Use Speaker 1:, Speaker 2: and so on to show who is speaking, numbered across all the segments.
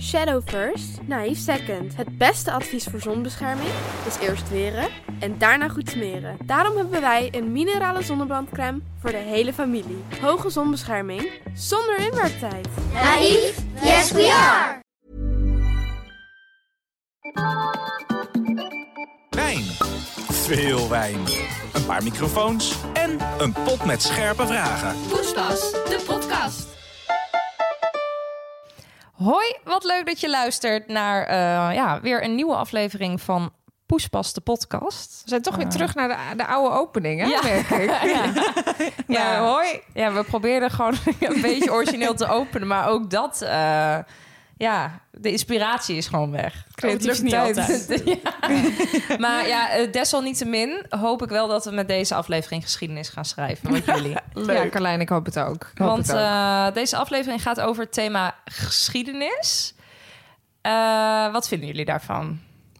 Speaker 1: Shadow first, naïef second. Het beste advies voor zonbescherming is eerst weren en daarna goed smeren. Daarom hebben wij een minerale zonnebrandcrème voor de hele familie. Hoge zonbescherming zonder inwerktijd.
Speaker 2: Naïef? Yes, we are!
Speaker 3: Wijn. Veel wijn. Een paar microfoons en een pot met scherpe vragen.
Speaker 4: Poespas, de podcast.
Speaker 5: Hoi, wat leuk dat je luistert naar eh, ja, weer een nieuwe aflevering van Poespas de podcast. Eh.
Speaker 6: We zijn toch weer terug naar de, de oude opening, hè?
Speaker 5: Ja.
Speaker 6: merk ik.
Speaker 5: Ja.
Speaker 6: Maar hoi.
Speaker 5: Ja, we probeerden gewoon een beetje origineel te openen, maar ook dat, eh, ja, de inspiratie is gewoon weg.
Speaker 6: Creativiteit.
Speaker 5: Ja. Maar ja, eh, desalniettemin hoop ik wel dat we met deze aflevering geschiedenis gaan schrijven met jullie.
Speaker 6: Ja, Carlijn, ik hoop het ook. Ik hoop
Speaker 5: Want
Speaker 6: het ook.
Speaker 5: eh, deze aflevering gaat over het thema geschiedenis. Eh, wat vinden jullie daarvan?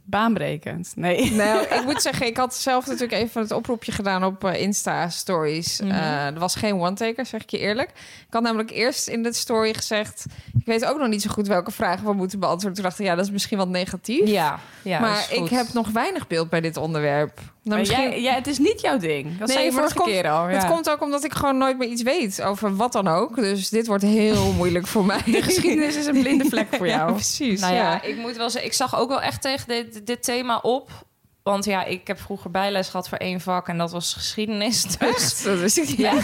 Speaker 4: Baanbrekend. Nee.
Speaker 6: Nou, ik moet zeggen, ik had zelf natuurlijk even het oproepje gedaan op eh, Insta-stories.
Speaker 4: Mhm.
Speaker 6: Eh, er was geen one-taker, zeg ik je eerlijk. Ik had namelijk eerst in de story gezegd... ik weet ook nog niet zo goed welke vragen we moeten beantwoorden. Toen dacht ik, ja, dat is misschien wat negatief.
Speaker 5: Ja, ja
Speaker 6: maar ik heb nog weinig beeld bij dit onderwerp. Nou, misschien-
Speaker 4: jij, jij- het is niet jouw ding. Dat
Speaker 6: Nee,
Speaker 4: zei je
Speaker 6: maar
Speaker 4: vorige
Speaker 6: het komt-
Speaker 4: keer al. Ja.
Speaker 6: Het komt ook omdat ik gewoon nooit meer iets weet over wat dan ook. Dus dit wordt heel moeilijk voor mij.
Speaker 4: De geschiedenis is een blinde vlek voor jou.
Speaker 6: Ja, precies.
Speaker 5: Nou ja,
Speaker 6: ja.
Speaker 5: ik moet wel zeggen, ik zag ook wel echt tegen dit, dit thema op. Want ja, ik heb vroeger bijles gehad voor één vak en dat was geschiedenis. Dus
Speaker 6: Dat wist ik niet.
Speaker 5: ja.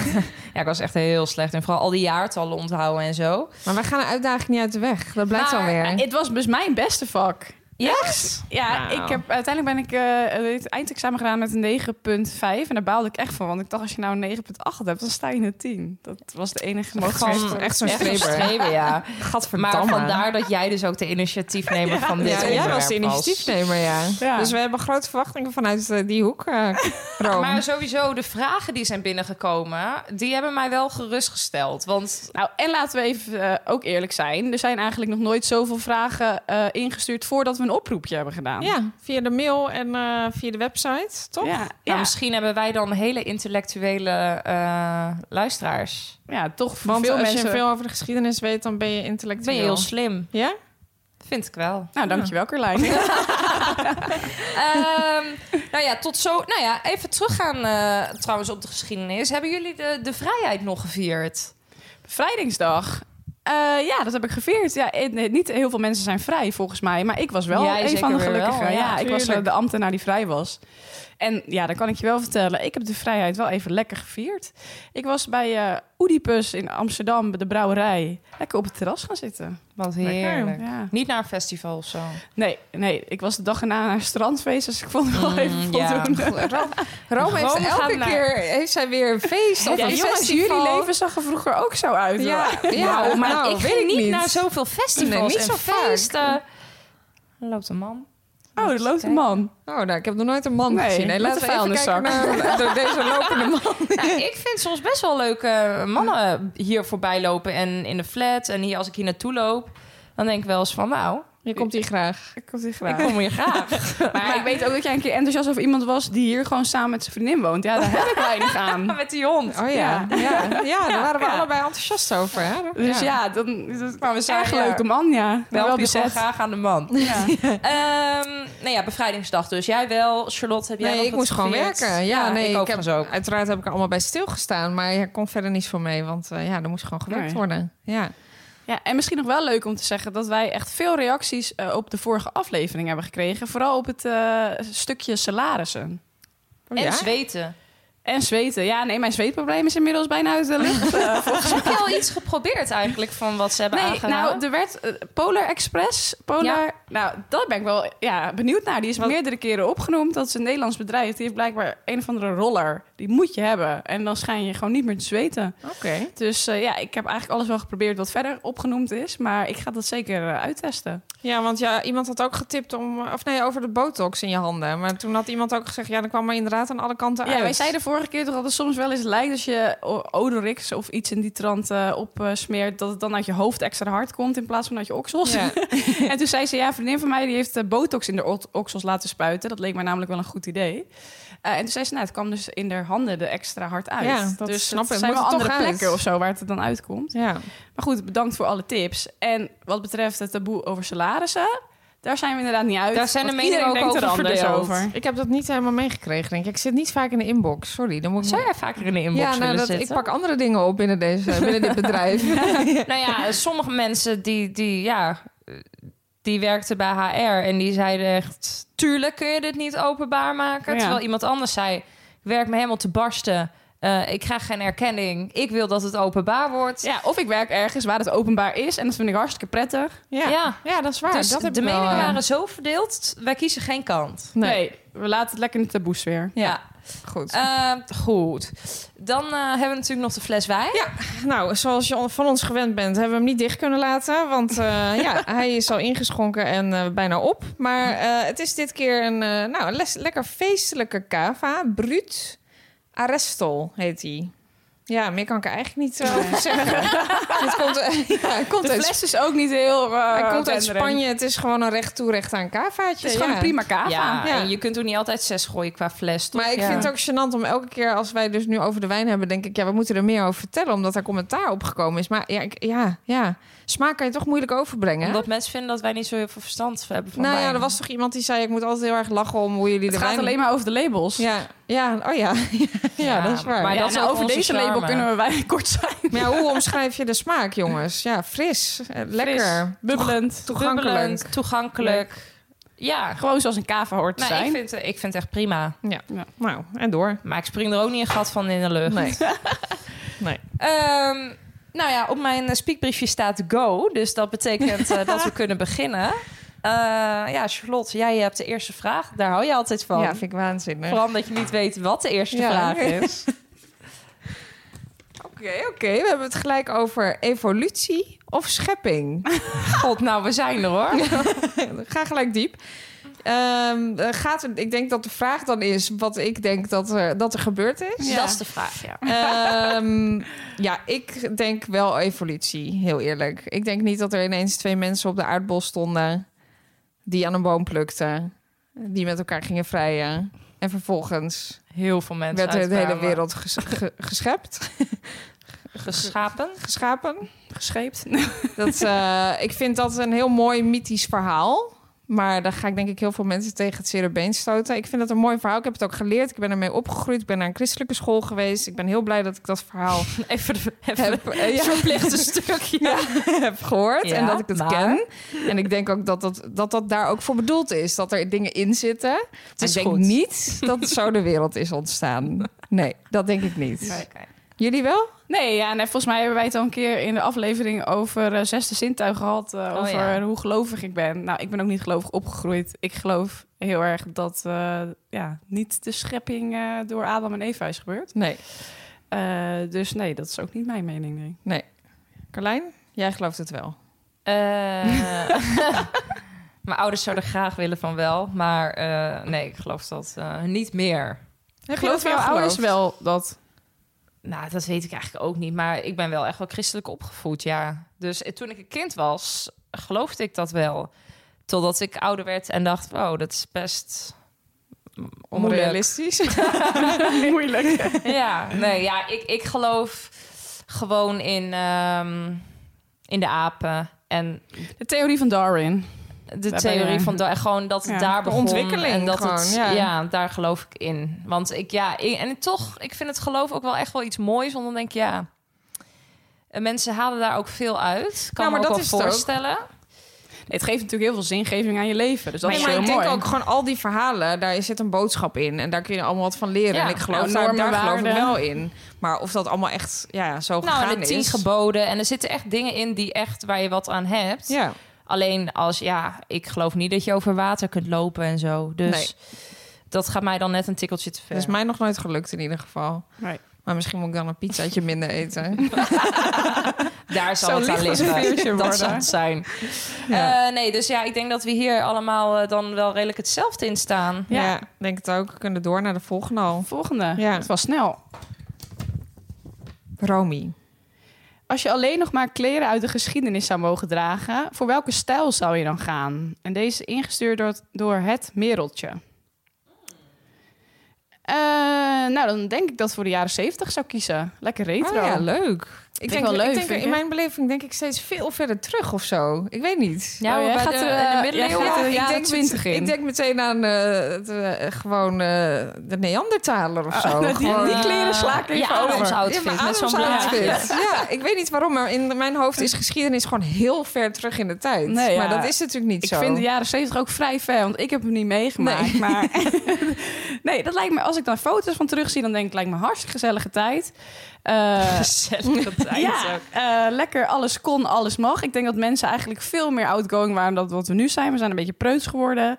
Speaker 5: ja, ik was echt heel slecht. En vooral al die jaartallen onthouden en zo.
Speaker 6: Maar wij gaan de uitdaging niet uit de weg. Dat blijkt
Speaker 5: Maar,
Speaker 6: alweer.
Speaker 4: Eh, Het was dus mijn beste vak.
Speaker 5: Yes.
Speaker 4: Ja,
Speaker 6: Nou.
Speaker 4: ik heb, uiteindelijk ben ik eh, het eindexamen gedaan met een 9.5. En daar baalde ik echt van. Want ik dacht, als je nou een 9.8 hebt, dan sta je in het 10. Dat was de enige mogelijkheid.
Speaker 5: Van-
Speaker 6: echt zo'n streber.
Speaker 5: streber, ja.
Speaker 6: Gadverdamme.
Speaker 5: Maar vandaar dat jij dus ook de initiatiefnemer van dit
Speaker 6: Ja, jij was de
Speaker 5: onderwerp
Speaker 6: initiatiefnemer, ja.
Speaker 4: Ja.
Speaker 6: Dus we hebben grote verwachtingen vanuit eh, die hoek, eh Rome.
Speaker 5: Maar sowieso, de vragen die zijn binnengekomen, die hebben mij wel gerustgesteld. Want
Speaker 4: Nou, en laten we even eh, ook eerlijk zijn. Er zijn eigenlijk nog nooit zoveel vragen eh, ingestuurd voordat we een oproepje hebben gedaan.
Speaker 6: Ja, via de mail en eh, via de website, toch?
Speaker 4: Ja,
Speaker 5: nou,
Speaker 4: ja,
Speaker 5: misschien hebben wij dan hele intellectuele eh, luisteraars.
Speaker 4: ja, toch voor
Speaker 6: Want
Speaker 4: veel
Speaker 6: als
Speaker 4: mensen.
Speaker 6: je veel over de geschiedenis weet, dan ben je
Speaker 5: Ben
Speaker 6: intellectueel.
Speaker 5: je heel slim?
Speaker 6: Ja?
Speaker 5: Vind ik wel.
Speaker 4: Nou, dankjewel, Carlijn.
Speaker 5: Ehm, nou ja, tot zo. Nou ja, even teruggaan eh, trouwens op de geschiedenis. Hebben jullie de, de vrijheid nog gevierd?
Speaker 4: Vrijdingsdag. Eh, ja, dat heb ik gevierd. Ja, eh, nee, niet heel veel mensen zijn vrij, volgens mij. Maar ik was wel
Speaker 5: Jij
Speaker 4: een
Speaker 5: zeker
Speaker 4: van de
Speaker 5: weer wel,
Speaker 4: gelukkigen.
Speaker 5: ja,
Speaker 4: ja, ik was eh,
Speaker 5: tuurlijk.
Speaker 4: de ambtenaar die vrij was. En ja, dan kan ik je wel vertellen. Ik heb de vrijheid wel even lekker gevierd. Ik was bij eh Oedipus in Amsterdam, bij de brouwerij. Lekker op het terras gaan zitten.
Speaker 5: Wat heerlijk.
Speaker 4: Ja.
Speaker 5: Niet naar een festival of zo.
Speaker 4: Nee, nee, ik was de dag erna naar een strandfeest. Dus ik vond het wel
Speaker 5: Mm,
Speaker 4: even
Speaker 5: ja.
Speaker 4: voldoende.
Speaker 6: Rome, Rome heeft
Speaker 5: Rome gaat
Speaker 6: elke
Speaker 5: naar-
Speaker 6: keer heeft zij weer een feest of
Speaker 4: Ja,
Speaker 6: een
Speaker 4: jongens,
Speaker 6: festival.
Speaker 4: jullie leven zag er vroeger ook zo uit.
Speaker 6: Ja,
Speaker 4: hoor.
Speaker 6: ja
Speaker 5: Nou, maar
Speaker 6: nou,
Speaker 5: ik
Speaker 6: weet
Speaker 5: ging niet naar zoveel
Speaker 6: Nee,
Speaker 5: festivals
Speaker 6: niet
Speaker 5: en
Speaker 6: zo vaak.
Speaker 5: feesten. Er loopt een man.
Speaker 4: Oh, er loopt een man.
Speaker 6: Oh, nou, ik heb nog nooit een man
Speaker 4: Nee,
Speaker 6: gezien. Nee,
Speaker 4: met
Speaker 6: laten
Speaker 4: een
Speaker 6: we even kijken
Speaker 4: vuilniszak.
Speaker 6: naar door deze lopende man.
Speaker 5: Nou, ik vind soms best wel leuke mannen hier voorbij lopen en in de flat. En hier, als ik hier naartoe loop, dan denk ik wel eens van, nou,
Speaker 6: Je komt hier graag.
Speaker 4: Ik kom hier graag.
Speaker 5: ik kom hier graag.
Speaker 4: Maar, ik weet ook dat jij een keer enthousiast over iemand was die hier gewoon samen met zijn vriendin woont. Ja, daar heb ik weinig aan.
Speaker 5: Met die hond.
Speaker 6: Oh ja, ja. ja. daar waren we allebei enthousiast over. Hè?
Speaker 4: Dus ja, dan is het
Speaker 5: Maar we zijn
Speaker 4: erg
Speaker 5: ja,
Speaker 4: leuke man, ja.
Speaker 5: Wel,
Speaker 4: wel
Speaker 5: die gewoon
Speaker 4: bezet.
Speaker 5: graag aan de man.
Speaker 4: Ja.
Speaker 5: Ehm, nou ja, bevrijdingsdag dus. Jij wel, Charlotte, heb jij nog
Speaker 6: Nee, ik
Speaker 5: wat
Speaker 6: moest gewoon
Speaker 5: gevierd?
Speaker 6: werken. Ja, nee,
Speaker 5: ik ook
Speaker 6: heb,
Speaker 5: van zo.
Speaker 6: Uiteraard heb ik er allemaal bij stilgestaan, maar ik kon verder niets voor mee, want eh, ja, er moest gewoon gewerkt
Speaker 4: Nee.
Speaker 6: worden. Ja.
Speaker 4: ja, en misschien nog wel leuk om te zeggen dat wij echt veel reacties eh, op de vorige aflevering hebben gekregen. Vooral op het eh, stukje salarissen.
Speaker 6: Oh,
Speaker 5: En
Speaker 6: ja?
Speaker 5: zweten.
Speaker 4: En zweten. Ja, nee, mijn zweetprobleem is inmiddels bijna uit de lucht.
Speaker 5: Dus heb je al iets geprobeerd eigenlijk van wat ze hebben
Speaker 4: Nee,
Speaker 5: aangeraden?
Speaker 4: nou, er werd eh, Polar Express. Polar, nou, dat ben ik wel ja, benieuwd naar. Die is meerdere keren opgenoemd. Dat is een Nederlands bedrijf. Die heeft blijkbaar een of andere roller. Die moet je hebben. En dan schijn je gewoon niet meer te zweten.
Speaker 6: Oké.
Speaker 4: Dus eh, ja, ik heb eigenlijk alles wel geprobeerd wat verder opgenoemd is. Maar ik ga dat zeker eh, uittesten.
Speaker 6: Ja, want ja, iemand had ook getipt eh, om, of nee, over de botox in je handen. Maar toen had iemand ook gezegd, ja, dan kwam er inderdaad aan alle kanten uit.
Speaker 4: Ja, wij zeiden vorige keer toch dat het soms wel eens lijkt als je o- Odorix of iets in die trant eh, op opsmeert, dat het dan uit je hoofd extra hard komt in plaats van uit je oksels.
Speaker 6: Ja.
Speaker 4: en toen zei ze, ja, een vriendin van mij die heeft eh, botox in de ot- oksels laten spuiten. Dat leek mij namelijk wel een goed idee. Eh, en toen zei ze, nou, het kwam dus in haar handen er extra hard uit.
Speaker 6: Ja, dat
Speaker 4: dus
Speaker 6: snap
Speaker 4: het
Speaker 6: ik.
Speaker 4: zijn
Speaker 6: Moet
Speaker 4: wel
Speaker 6: er toch
Speaker 4: andere
Speaker 6: uit.
Speaker 4: plekken of zo waar het dan uitkomt.
Speaker 6: Ja.
Speaker 4: Maar goed, bedankt voor alle tips. En wat betreft het taboe over salarissen, daar zijn we inderdaad niet uit.
Speaker 5: Daar zijn de
Speaker 4: want
Speaker 5: meningen
Speaker 4: iedereen
Speaker 5: ook
Speaker 4: denkt er
Speaker 5: over
Speaker 4: anders
Speaker 5: verdeeld.
Speaker 4: over.
Speaker 6: Ik heb dat niet helemaal meegekregen, denk ik. Ik zit niet vaak in de inbox. Sorry, dan moet ik...
Speaker 5: Zou jij vaker in de inbox
Speaker 6: ja, nou,
Speaker 5: willen
Speaker 6: dat, ik
Speaker 5: zitten?
Speaker 6: pak andere dingen op binnen, deze, binnen dit bedrijf.
Speaker 5: Nou ja, sommige mensen die, die, ja, eh, die werkten bij HR en die zeiden echt... Tuurlijk kun je dit niet openbaar maken.
Speaker 4: Ja.
Speaker 5: Terwijl iemand anders zei, ik werk me helemaal te barsten. Eh, ik krijg geen erkenning. Ik wil dat het openbaar wordt.
Speaker 4: Ja, of ik werk ergens waar het openbaar is en dat vind ik hartstikke prettig.
Speaker 6: Ja.
Speaker 5: Ja.
Speaker 6: Ja. dat is waar.
Speaker 5: dus
Speaker 6: dat heb
Speaker 5: de
Speaker 6: ik wel,
Speaker 5: meningen
Speaker 6: eh,
Speaker 5: waren zo verdeeld, wij kiezen geen kant.
Speaker 4: Nee.
Speaker 6: Nee.
Speaker 4: we laten het lekker in de taboesfeer.
Speaker 5: Ja,
Speaker 6: Goed.
Speaker 5: Eh, goed. Dan eh, hebben we natuurlijk nog de fles wijn.
Speaker 6: Nou, zoals je van ons gewend bent, hebben we hem niet dicht kunnen laten. Want eh, ja, hij is al ingeschonken en eh, bijna op. Maar eh, het is dit keer een, eh, nou, een les- lekker feestelijke cava. Bruut Arrestel heet hij. Ja, meer kan ik er eigenlijk niet eh, over zeggen. Het komt, eh, ja, hij komt,
Speaker 4: De
Speaker 6: uit,
Speaker 4: fles is ook niet heel... eh,
Speaker 6: hij komt uit
Speaker 4: denderend.
Speaker 6: Spanje. Het is gewoon een recht toe, recht aan cavaatje.
Speaker 4: Het is gewoon
Speaker 6: ja.
Speaker 4: een prima kava.
Speaker 5: Ja,
Speaker 6: Ja.
Speaker 5: en je kunt ook niet altijd zes gooien qua fles. toch?
Speaker 6: Maar ik
Speaker 5: Ja.
Speaker 6: vind het ook gênant om elke keer als wij dus nu over de wijn hebben, denk ik, ja, we moeten er meer over vertellen, omdat daar commentaar op gekomen is. Maar ja, ik- ja, ja. smaak kan je toch moeilijk overbrengen. hè?
Speaker 5: Omdat mensen vinden dat wij niet zo heel veel verstand hebben van
Speaker 6: Nou
Speaker 5: wijn.
Speaker 6: ja, er was toch iemand die zei, ik moet altijd heel erg lachen om hoe jullie
Speaker 4: Het
Speaker 6: de
Speaker 4: gaat
Speaker 6: wijn...
Speaker 4: alleen maar over de labels.
Speaker 6: Ja, ja, oh ja. ja, dat is waar.
Speaker 5: maar
Speaker 6: Maar,
Speaker 4: Ja,
Speaker 5: dat is
Speaker 4: nou,
Speaker 5: ook
Speaker 4: over
Speaker 5: onze
Speaker 4: deze label
Speaker 5: charme.
Speaker 4: kunnen we wij kort zijn.
Speaker 6: ja, hoe omschrijf je de smaak, jongens? Ja, fris, eh, lekker,
Speaker 4: Fris, Dus bubbelend.
Speaker 6: toegankelijk.
Speaker 5: Bubbelend, toegankelijk. Ja,
Speaker 4: Gewoon zoals een kava hoort te
Speaker 5: nou,
Speaker 4: zijn.
Speaker 5: ik, vind, ik vind het echt prima.
Speaker 6: Nou, en door.
Speaker 5: Maar ik spring er ook niet een gat van in de lucht.
Speaker 6: Nee. nee.
Speaker 5: Ehm, nou ja, op mijn eh, speakbriefje staat go. Dus dat betekent eh, dat we kunnen beginnen. Eh, ja, Charlotte, jij hebt de eerste vraag. Daar hou je altijd van.
Speaker 6: Ja, vind ik waanzinnig.
Speaker 5: Vooral omdat je niet weet wat de eerste
Speaker 6: Ja.
Speaker 5: vraag is.
Speaker 6: Oké, oké. We hebben het gelijk over evolutie of schepping.
Speaker 5: God, nou, we zijn er hoor.
Speaker 6: Ga gelijk diep. Ehm, eh, gaat, het- ik denk dat de vraag dan is wat ik denk dat er, dat er gebeurd is.
Speaker 5: Dat is de vraag, ja.
Speaker 6: Ehm, ja, ik denk wel evolutie, heel eerlijk. Ik denk niet dat er ineens twee mensen op de aardbol stonden... die aan een boom plukten, die met elkaar gingen vrijen... en vervolgens
Speaker 5: Heel veel mensen
Speaker 6: werd er de hele
Speaker 5: uitkwamen.
Speaker 6: wereld ges- ge- geschept,
Speaker 5: geschapen.
Speaker 6: geschapen.
Speaker 4: Gescheept.
Speaker 6: Dat, eh, ik vind dat een heel mooi mythisch verhaal. Maar daar ga ik denk ik heel veel mensen tegen het zere been stoten. Ik vind dat een mooi verhaal. Ik heb het ook geleerd. Ik ben ermee opgegroeid. Ik ben naar een christelijke school geweest. Ik ben heel blij dat ik dat verhaal
Speaker 5: Even, de- even
Speaker 6: heb, eh, ja,
Speaker 5: het verplichte stukje.
Speaker 6: heb gehoord.
Speaker 5: Ja,
Speaker 6: en dat ik het
Speaker 5: maar?
Speaker 6: ken. En ik denk ook dat dat, dat dat daar ook voor bedoeld is. Dat er dingen in zitten. Maar
Speaker 5: is
Speaker 6: ik denk
Speaker 5: goed.
Speaker 6: niet dat zo de wereld is ontstaan. Nee, dat denk ik niet. Jullie wel?
Speaker 4: Nee, ja, en volgens mij hebben wij het al een keer in de aflevering over eh, zesde zintuig gehad. eh, over
Speaker 5: Oh, ja.
Speaker 4: hoe gelovig ik ben. Nou, ik ben ook niet gelovig opgegroeid. Ik geloof heel erg dat eh, ja, niet de schepping eh, door Adam en Eva is gebeurd.
Speaker 6: Nee.
Speaker 4: Eh, dus nee, dat is ook niet mijn mening. Nee.
Speaker 6: Carlijn? Jij gelooft het wel.
Speaker 5: Eh, mijn ouders zouden graag willen van wel, maar eh, nee, ik geloof dat eh, niet meer.
Speaker 6: Heb
Speaker 4: Geloven jouw ouders wel dat?
Speaker 5: Nou, dat weet ik eigenlijk ook niet, maar ik ben wel echt wel christelijk opgevoed, ja. Dus eh, toen ik een kind was, geloofde ik dat wel. Totdat ik ouder werd en dacht, wow, dat is best mm, onrealistisch.
Speaker 6: Onrealistisch.
Speaker 4: Moeilijk.
Speaker 5: ja, nee, ja, ik, ik geloof gewoon in, ehm, in de apen en
Speaker 4: De theorie van Darwin.
Speaker 5: de
Speaker 4: Daar ben je
Speaker 5: theorie
Speaker 4: weer.
Speaker 5: van da- gewoon dat het
Speaker 4: Ja,
Speaker 5: daar
Speaker 6: de
Speaker 5: begon
Speaker 6: ontwikkeling
Speaker 5: en dat het
Speaker 6: gewoon,
Speaker 5: ja.
Speaker 6: ja.
Speaker 5: daar geloof ik in. Want ik ja, ik- en toch ik vind het geloof ook wel echt wel iets moois, want dan denk ik ja. eh, Mensen halen daar ook veel uit. Kan
Speaker 6: Ja,
Speaker 5: me
Speaker 6: maar
Speaker 5: ook
Speaker 6: dat
Speaker 5: wel
Speaker 6: is het ook.
Speaker 5: voorstellen.
Speaker 4: Nee, het geeft natuurlijk heel veel zingeving aan je leven. Dus dat
Speaker 5: Nee,
Speaker 4: is
Speaker 6: maar
Speaker 4: heel
Speaker 6: ik
Speaker 4: mooi.
Speaker 6: denk ook gewoon al die verhalen, daar zit een boodschap in. En daar kun je allemaal wat van leren.
Speaker 5: Ja,
Speaker 6: en ik geloof
Speaker 4: nou,
Speaker 6: daar,
Speaker 4: normen,
Speaker 6: daar geloof ik
Speaker 4: waarden.
Speaker 6: wel in. Maar of dat allemaal echt ja, zo
Speaker 5: Nou, en
Speaker 6: gegaan
Speaker 5: de tien
Speaker 6: is.
Speaker 5: geboden. En er zitten echt dingen in die echt waar je wat aan hebt.
Speaker 6: Ja,
Speaker 5: Alleen als, ja, ik geloof niet dat je over water kunt lopen en zo. Dus
Speaker 6: Nee.
Speaker 5: dat gaat mij dan net een tikkeltje te ver.
Speaker 6: dat is mij nog nooit gelukt in ieder geval.
Speaker 4: Nee.
Speaker 6: Maar misschien moet ik dan een pizzaatje minder eten.
Speaker 5: Daar zal
Speaker 6: Zo
Speaker 5: het aan
Speaker 6: licht als een vuurtje
Speaker 5: liggen. Dat
Speaker 6: worden.
Speaker 5: zal het zijn.
Speaker 6: Ja.
Speaker 5: Eh, nee, dus ja, ik denk dat we hier allemaal eh, dan wel redelijk hetzelfde in staan.
Speaker 4: Ja.
Speaker 6: Ja. denk het ook. We kunnen door naar de volgende al.
Speaker 4: Volgende.
Speaker 6: Ja.
Speaker 4: Het was snel.
Speaker 6: Romy.
Speaker 4: Als je alleen nog maar kleren uit de geschiedenis zou mogen dragen, voor welke stijl zou je dan gaan? En deze is ingestuurd door het, door het Mereltje. Eh, nou, dan denk ik dat ik voor de jaren 70 zou kiezen. Lekker retro.
Speaker 6: Oh ja, leuk. Ik
Speaker 4: ik
Speaker 6: denk,
Speaker 4: wel leuk,
Speaker 6: ik denk
Speaker 4: vind
Speaker 6: in
Speaker 4: ik.
Speaker 6: mijn beleving denk ik steeds veel verder terug of zo. Ik weet niet.
Speaker 5: Ja,
Speaker 4: Oh,
Speaker 5: we
Speaker 4: jij
Speaker 5: bij
Speaker 4: gaat
Speaker 5: de,
Speaker 4: er,
Speaker 5: in
Speaker 4: eh,
Speaker 5: de
Speaker 4: jij
Speaker 5: middeleeuwen.
Speaker 4: gaat er-
Speaker 6: ik
Speaker 4: jaren
Speaker 6: denk
Speaker 4: 20 in.
Speaker 6: Ik denk meteen aan eh, het, eh, gewoon eh, de Neandertaler of zo.
Speaker 4: Ah, die-
Speaker 6: Gewoon-
Speaker 4: die kleren sla ik
Speaker 5: Eh,
Speaker 4: even
Speaker 5: ja,
Speaker 4: over.
Speaker 5: Adams outfit.
Speaker 6: Ja, maar
Speaker 5: met zo'n
Speaker 6: Adam's
Speaker 5: blaadje.
Speaker 6: outfit. Ja. ik weet niet waarom, maar in mijn hoofd is geschiedenis gewoon heel ver terug in de tijd.
Speaker 4: Nee, ja.
Speaker 6: Maar dat is natuurlijk niet
Speaker 4: Ik
Speaker 6: zo.
Speaker 4: vind de jaren 70 ook vrij ver, want ik heb hem niet meegemaakt.
Speaker 6: Nee.
Speaker 4: Maar nee, dat lijkt me, als ik daar foto's van terugzie, dan denk ik, lijkt me een hartstikke gezellige tijd. Eh,
Speaker 5: Gezellige tijd
Speaker 4: ja,
Speaker 5: ook.
Speaker 4: eh, lekker alles kon, alles mag. Ik denk dat mensen eigenlijk veel meer outgoing waren dan wat we nu zijn. We zijn een beetje preuts geworden.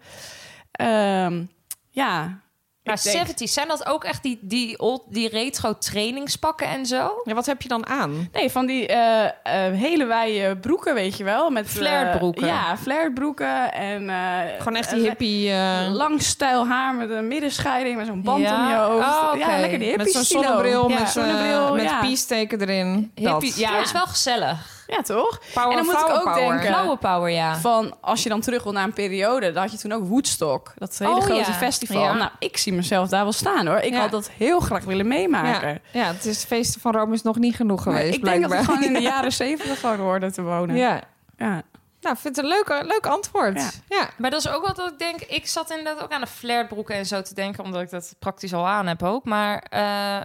Speaker 4: Ehm, ja.
Speaker 5: Maar
Speaker 4: Ik denk-
Speaker 5: 70 zijn dat ook echt die, die, old, die retro trainingspakken en zo?
Speaker 6: Ja, wat heb je dan aan?
Speaker 4: Nee, van die eh, eh, hele wijde broeken, weet je wel. Met, eh,
Speaker 5: Flaredbroeken.
Speaker 4: ja, flared broeken. En, eh,
Speaker 6: Gewoon echt
Speaker 4: eh,
Speaker 6: die hippie... eh,
Speaker 4: lang stijl haar met een middenscheiding met zo'n band
Speaker 5: Ja.
Speaker 4: om je hoofd.
Speaker 5: Oh, oké.
Speaker 4: Ja, lekker die hippie
Speaker 6: met zo'n zonnebril,
Speaker 4: ja.
Speaker 6: met,
Speaker 4: Zonnebril,
Speaker 6: zonnebril, met
Speaker 4: ja.
Speaker 6: piesteken erin. Dat.
Speaker 5: Hippie- ja, dat is wel gezellig.
Speaker 4: Ja, toch?
Speaker 6: Power,
Speaker 4: en dan moet ik
Speaker 6: flower
Speaker 4: ook
Speaker 6: power.
Speaker 4: denken
Speaker 5: Blauwe power, ja.
Speaker 4: van als je dan terug wil naar een periode, dan had je toen ook Woodstock, dat hele
Speaker 5: Oh,
Speaker 4: grote
Speaker 5: ja.
Speaker 4: festival.
Speaker 5: Ja.
Speaker 4: Nou, ik zie mezelf daar wel staan hoor. Ik
Speaker 6: Ja.
Speaker 4: had dat heel graag willen meemaken.
Speaker 6: Ja, ja, het is het feesten van Rome is nog niet genoeg
Speaker 4: Maar
Speaker 6: geweest,
Speaker 4: ik denk dat we
Speaker 6: blijkbaar.
Speaker 4: gewoon in de jaren zeventig zouden horen te wonen.
Speaker 6: Ja.
Speaker 4: Ja.
Speaker 6: Nou, ik vind het een leuk, leuk antwoord.
Speaker 4: Ja.
Speaker 6: Ja.
Speaker 5: Maar dat is ook wat ik denk. Ik zat inderdaad ook aan de flarebroeken en zo te denken, omdat ik dat praktisch al aan heb ook. Maar eh,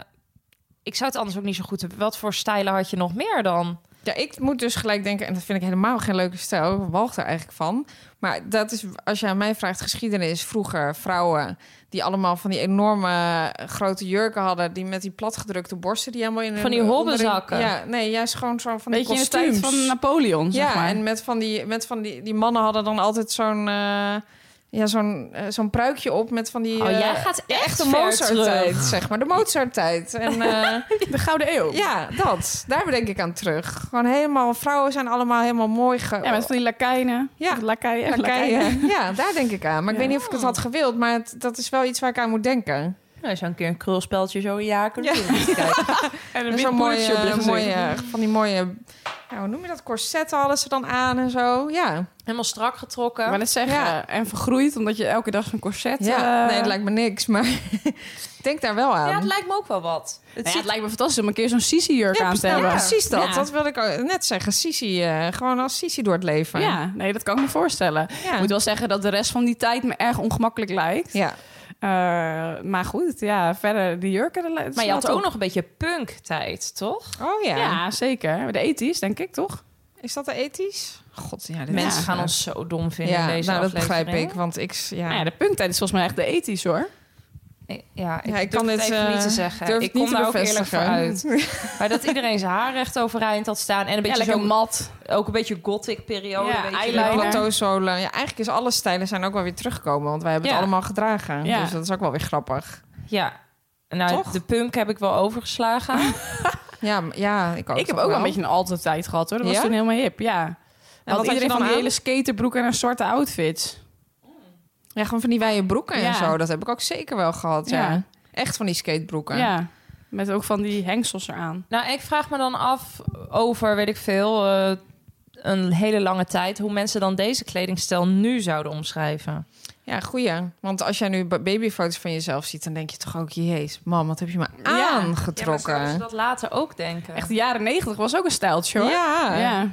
Speaker 5: ik zou het anders ook niet zo goed hebben. Wat voor stijlen had je nog meer dan?
Speaker 6: Ja, ik moet dus gelijk denken, en dat vind ik helemaal geen leuke stijl, ik walg er eigenlijk van. Maar dat is, als je aan mij vraagt, geschiedenis, vroeger vrouwen die allemaal van die enorme eh, grote jurken hadden, die met die platgedrukte borsten, die helemaal in hun
Speaker 5: Van die
Speaker 6: onderin-
Speaker 5: hobbezakken.
Speaker 6: Ja, nee, juist gewoon zo van
Speaker 4: Beetje
Speaker 6: die
Speaker 4: in de tijd
Speaker 6: kostuums.
Speaker 4: van
Speaker 5: eh,
Speaker 4: Napoleon, zeg
Speaker 6: Ja,
Speaker 4: maar.
Speaker 6: en met van die, met van die, die mannen hadden dan altijd zo'n eh, ja, zo'n eh, zo'n pruikje op met van die.
Speaker 5: oh, jij
Speaker 6: eh,
Speaker 5: gaat
Speaker 6: ja,
Speaker 5: echt,
Speaker 6: echt eh, de
Speaker 5: ver
Speaker 6: Mozart-tijd,
Speaker 5: terug.
Speaker 6: zeg maar. De Mozart-tijd. En eh,
Speaker 4: de Gouden Eeuw.
Speaker 6: ja, dat. Daar denk ik aan terug. Gewoon helemaal, vrouwen zijn allemaal helemaal mooi ge...
Speaker 4: Ja, met van die lakijnen.
Speaker 6: Ja.
Speaker 4: Of Lakijen.
Speaker 6: Lakijen.
Speaker 4: lakijen.
Speaker 6: Ja, daar denk ik aan. Maar ik
Speaker 4: Ja.
Speaker 6: weet niet of ik het had gewild, maar het- dat is wel iets waar ik aan moet denken.
Speaker 7: Nou, je zou een keer een krulspeltje zo in je haar kunnen doen.
Speaker 4: En een
Speaker 6: En
Speaker 4: wit
Speaker 6: Zo'n
Speaker 7: eh,
Speaker 6: mooie,
Speaker 4: poedertje op je gezicht.
Speaker 6: mooie, van die mooie, ja, hoe noem je dat, corsetten hadden ze dan aan en zo. Ja,
Speaker 5: Helemaal strak getrokken.
Speaker 4: Ik wou net zeggen,
Speaker 6: Ja.
Speaker 4: eh, en vergroeid, omdat je elke dag zo'n corset...
Speaker 6: ja.
Speaker 4: eh,
Speaker 6: nee, het lijkt me niks, maar ik denk daar wel aan.
Speaker 5: ja, het lijkt me ook wel wat.
Speaker 4: nou ja, het lijkt me fantastisch om een keer zo'n Sisi-jurk
Speaker 6: Ja,
Speaker 4: aan
Speaker 6: precies,
Speaker 4: te
Speaker 6: nou,
Speaker 4: hebben.
Speaker 6: precies dat.
Speaker 4: Ja.
Speaker 6: Dat wilde ik ook net zeggen. Sisi, eh, gewoon als Sisi door het leven.
Speaker 4: Ja, nee, dat kan ik me voorstellen. Ik
Speaker 6: ja.
Speaker 4: moet wel zeggen dat de rest van die tijd me erg ongemakkelijk lijkt.
Speaker 6: ja.
Speaker 4: Eh, maar goed, ja, verder die jurken... dat lijkt-
Speaker 5: Maar je had
Speaker 4: slaat
Speaker 5: ook
Speaker 4: op.
Speaker 5: nog een beetje punk-tijd, toch?
Speaker 6: Oh ja.
Speaker 4: Ja, zeker. De ethisch, denk ik, toch?
Speaker 6: Is dat ethisch? God, ja. dit
Speaker 5: Mensen
Speaker 6: is-
Speaker 5: gaan ons zo dom vinden
Speaker 6: Ja,
Speaker 5: in deze
Speaker 6: nou, dat
Speaker 5: aflevering.
Speaker 6: begrijp ik. Want ik, s- ja,
Speaker 4: Nou ja, de punktijd is volgens mij echt de ethisch, hoor.
Speaker 5: Nee, Ja, ik,
Speaker 6: Ja, ik
Speaker 5: kan
Speaker 6: kan
Speaker 5: dit
Speaker 6: dit,
Speaker 5: even
Speaker 6: eh,
Speaker 5: niet te zeggen.
Speaker 6: durf
Speaker 5: ik
Speaker 6: het
Speaker 5: kom
Speaker 6: niet te
Speaker 5: daar ook eerlijk voor uit.
Speaker 6: bevestigen.
Speaker 5: Maar dat iedereen zijn haar recht overeind had staan. En een
Speaker 4: Ja,
Speaker 5: beetje
Speaker 4: lekker
Speaker 5: zo'n
Speaker 4: mat.
Speaker 5: ook een beetje gothic periode.
Speaker 4: Ja,
Speaker 5: weet je
Speaker 4: eyeliner.
Speaker 5: wel.
Speaker 6: plateauzolen. Ja, eigenlijk is alle stijlen zijn ook wel weer teruggekomen. Want wij hebben
Speaker 5: Ja.
Speaker 6: het allemaal gedragen.
Speaker 4: Ja.
Speaker 6: Dus dat is ook wel weer grappig.
Speaker 5: Ja. Nou,
Speaker 6: Toch?
Speaker 5: de punk heb ik wel overgeslagen.
Speaker 6: Ja, m- ja ik ook.
Speaker 4: Ik heb
Speaker 6: toch
Speaker 4: ook wel een beetje een altijd tijd gehad, hoor. Dat was
Speaker 6: Ja?
Speaker 4: toen helemaal hip, ja. En
Speaker 6: wat had je
Speaker 4: iedereen
Speaker 6: dan
Speaker 4: van die
Speaker 6: aan?
Speaker 4: hele skaterbroek en een zwarte outfits.
Speaker 6: Ja, gewoon van die wijde broeken
Speaker 4: Ja.
Speaker 6: en zo. Dat heb ik ook zeker wel gehad, ja.
Speaker 4: Ja.
Speaker 6: Echt van die skatebroeken.
Speaker 4: Ja, met ook van die hengsels eraan.
Speaker 5: nou, ik vraag me dan af over, weet ik veel, eh, een hele lange tijd... hoe mensen dan deze kledingstijl nu zouden omschrijven.
Speaker 6: Ja, goeie. Want als jij nu ba- babyfoto's van jezelf ziet, dan denk je toch ook... Jeez, mam, wat heb je me
Speaker 4: Ja.
Speaker 6: aangetrokken.
Speaker 5: ze dat later ook denken?
Speaker 4: Echt, de jaren negentig was ook een stijltje, hoor.
Speaker 6: Ja.
Speaker 4: ja.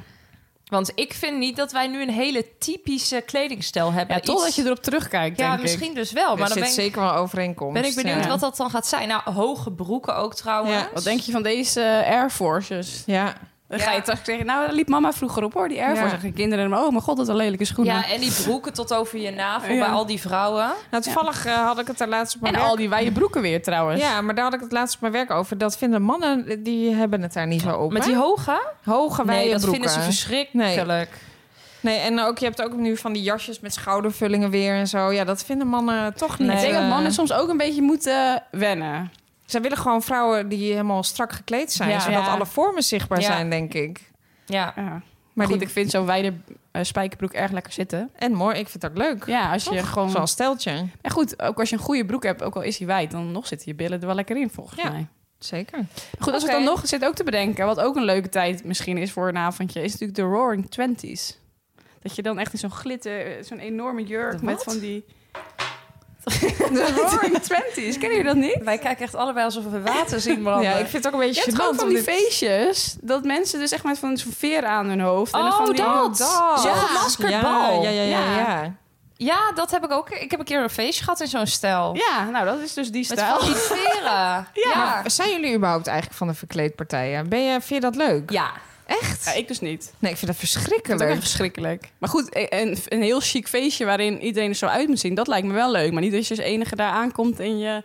Speaker 5: Want ik vind niet dat wij nu een hele typische kledingstijl hebben.
Speaker 4: Ja, totdat
Speaker 5: Iets-
Speaker 4: je erop terugkijkt,
Speaker 5: Ja,
Speaker 4: denk ik.
Speaker 5: misschien dus wel.
Speaker 6: Er
Speaker 5: Maar dan
Speaker 6: zit
Speaker 5: ben ik,
Speaker 6: zeker wel overeenkomst.
Speaker 5: ben ik benieuwd
Speaker 6: ja.
Speaker 5: wat dat dan gaat zijn. Nou, hoge broeken ook trouwens.
Speaker 6: Ja.
Speaker 4: Wat denk je van deze eh, Air Forces?
Speaker 6: Ja.
Speaker 4: Dan ga je toch zeggen, nou, daar liep mama vroeger op hoor, die Air
Speaker 6: Ja.
Speaker 4: Force. En de kinderen, oh mijn god, dat een lelijke schoenen.
Speaker 5: Ja, en die broeken tot over je navel
Speaker 4: Ja.
Speaker 5: bij al die vrouwen.
Speaker 6: Nou, toevallig eh, had ik het daar laatst op mijn
Speaker 4: en
Speaker 6: werk-
Speaker 4: al die wijde broeken weer trouwens.
Speaker 6: Ja, maar daar had ik het laatst op mijn werk over. Dat vinden mannen, die hebben het daar niet zo op.
Speaker 5: Met
Speaker 6: hè?
Speaker 5: die hoge?
Speaker 6: hoge wijde
Speaker 5: Nee, dat
Speaker 6: broeken.
Speaker 5: vinden ze verschrikkelijk.
Speaker 6: Nee, en ook, je hebt ook nu van die jasjes met schoudervullingen weer en zo. Ja, dat vinden mannen toch niet.
Speaker 4: Ik denk dat
Speaker 6: eh,
Speaker 4: mannen soms ook een beetje moeten wennen.
Speaker 6: Zij willen gewoon vrouwen die helemaal strak gekleed zijn,
Speaker 5: Ja.
Speaker 6: zodat
Speaker 5: Ja.
Speaker 6: alle vormen zichtbaar
Speaker 5: Ja.
Speaker 6: zijn, denk ik.
Speaker 5: Ja.
Speaker 4: Ja.
Speaker 6: Maar
Speaker 4: Maar Goed,
Speaker 6: die,
Speaker 4: ik vind zo'n wijde eh, spijkerbroek erg lekker zitten.
Speaker 6: en mooi, ik vind dat leuk.
Speaker 4: Ja, als je
Speaker 6: Toch?
Speaker 4: gewoon...
Speaker 6: Zo'n steltje.
Speaker 4: En goed, ook als je een goede broek hebt, ook al is die wijd, dan nog zitten je billen er wel lekker in volgens
Speaker 6: Ja.
Speaker 4: mij.
Speaker 6: Zeker.
Speaker 4: Goed, als
Speaker 6: Oké.
Speaker 4: ik dan nog zit ook te bedenken, wat ook een leuke tijd misschien is voor een avondje, is natuurlijk de Roaring Twenties. Dat je dan echt in zo'n glitter, eh, zo'n enorme jurk
Speaker 5: De
Speaker 4: met
Speaker 5: wat?
Speaker 4: van die... De Roaring Twenties, kennen jullie dat niet?
Speaker 5: Wij kijken echt allebei alsof we water zien branden.
Speaker 6: Ja, ik vind het ook een
Speaker 4: Je
Speaker 6: beetje
Speaker 4: hebt
Speaker 6: gênant
Speaker 4: gewoon van
Speaker 6: om
Speaker 4: die
Speaker 6: dit-
Speaker 4: feestjes, dat mensen dus echt met van zo'n veer aan hun hoofd. en dan
Speaker 5: Oh,
Speaker 4: van die...
Speaker 5: dat!
Speaker 6: dat.
Speaker 5: Zo'n
Speaker 6: Ja.
Speaker 5: gemaskerd
Speaker 6: ja,
Speaker 5: bal.
Speaker 6: Ja, ja, ja,
Speaker 4: Ja.
Speaker 6: ja.
Speaker 5: Ja, dat heb ik ook. Ik heb een keer een feestje gehad in zo'n stijl.
Speaker 4: Ja, nou dat is dus die
Speaker 5: Met
Speaker 4: stijl.
Speaker 5: van die veren. Ja.
Speaker 6: Maar zijn jullie überhaupt eigenlijk van de verkleedpartijen? Ben je, vind je dat leuk?
Speaker 5: Ja.
Speaker 6: Echt?
Speaker 4: Ja, ik dus niet.
Speaker 6: Nee, ik vind dat
Speaker 4: Dat is ook
Speaker 6: verschrikkelijk.
Speaker 4: echt verschrikkelijk. Maar goed, e- een, een heel chic feestje waarin iedereen er zo uit moet zien, dat lijkt me wel leuk. Maar niet als je als enige daar aankomt en je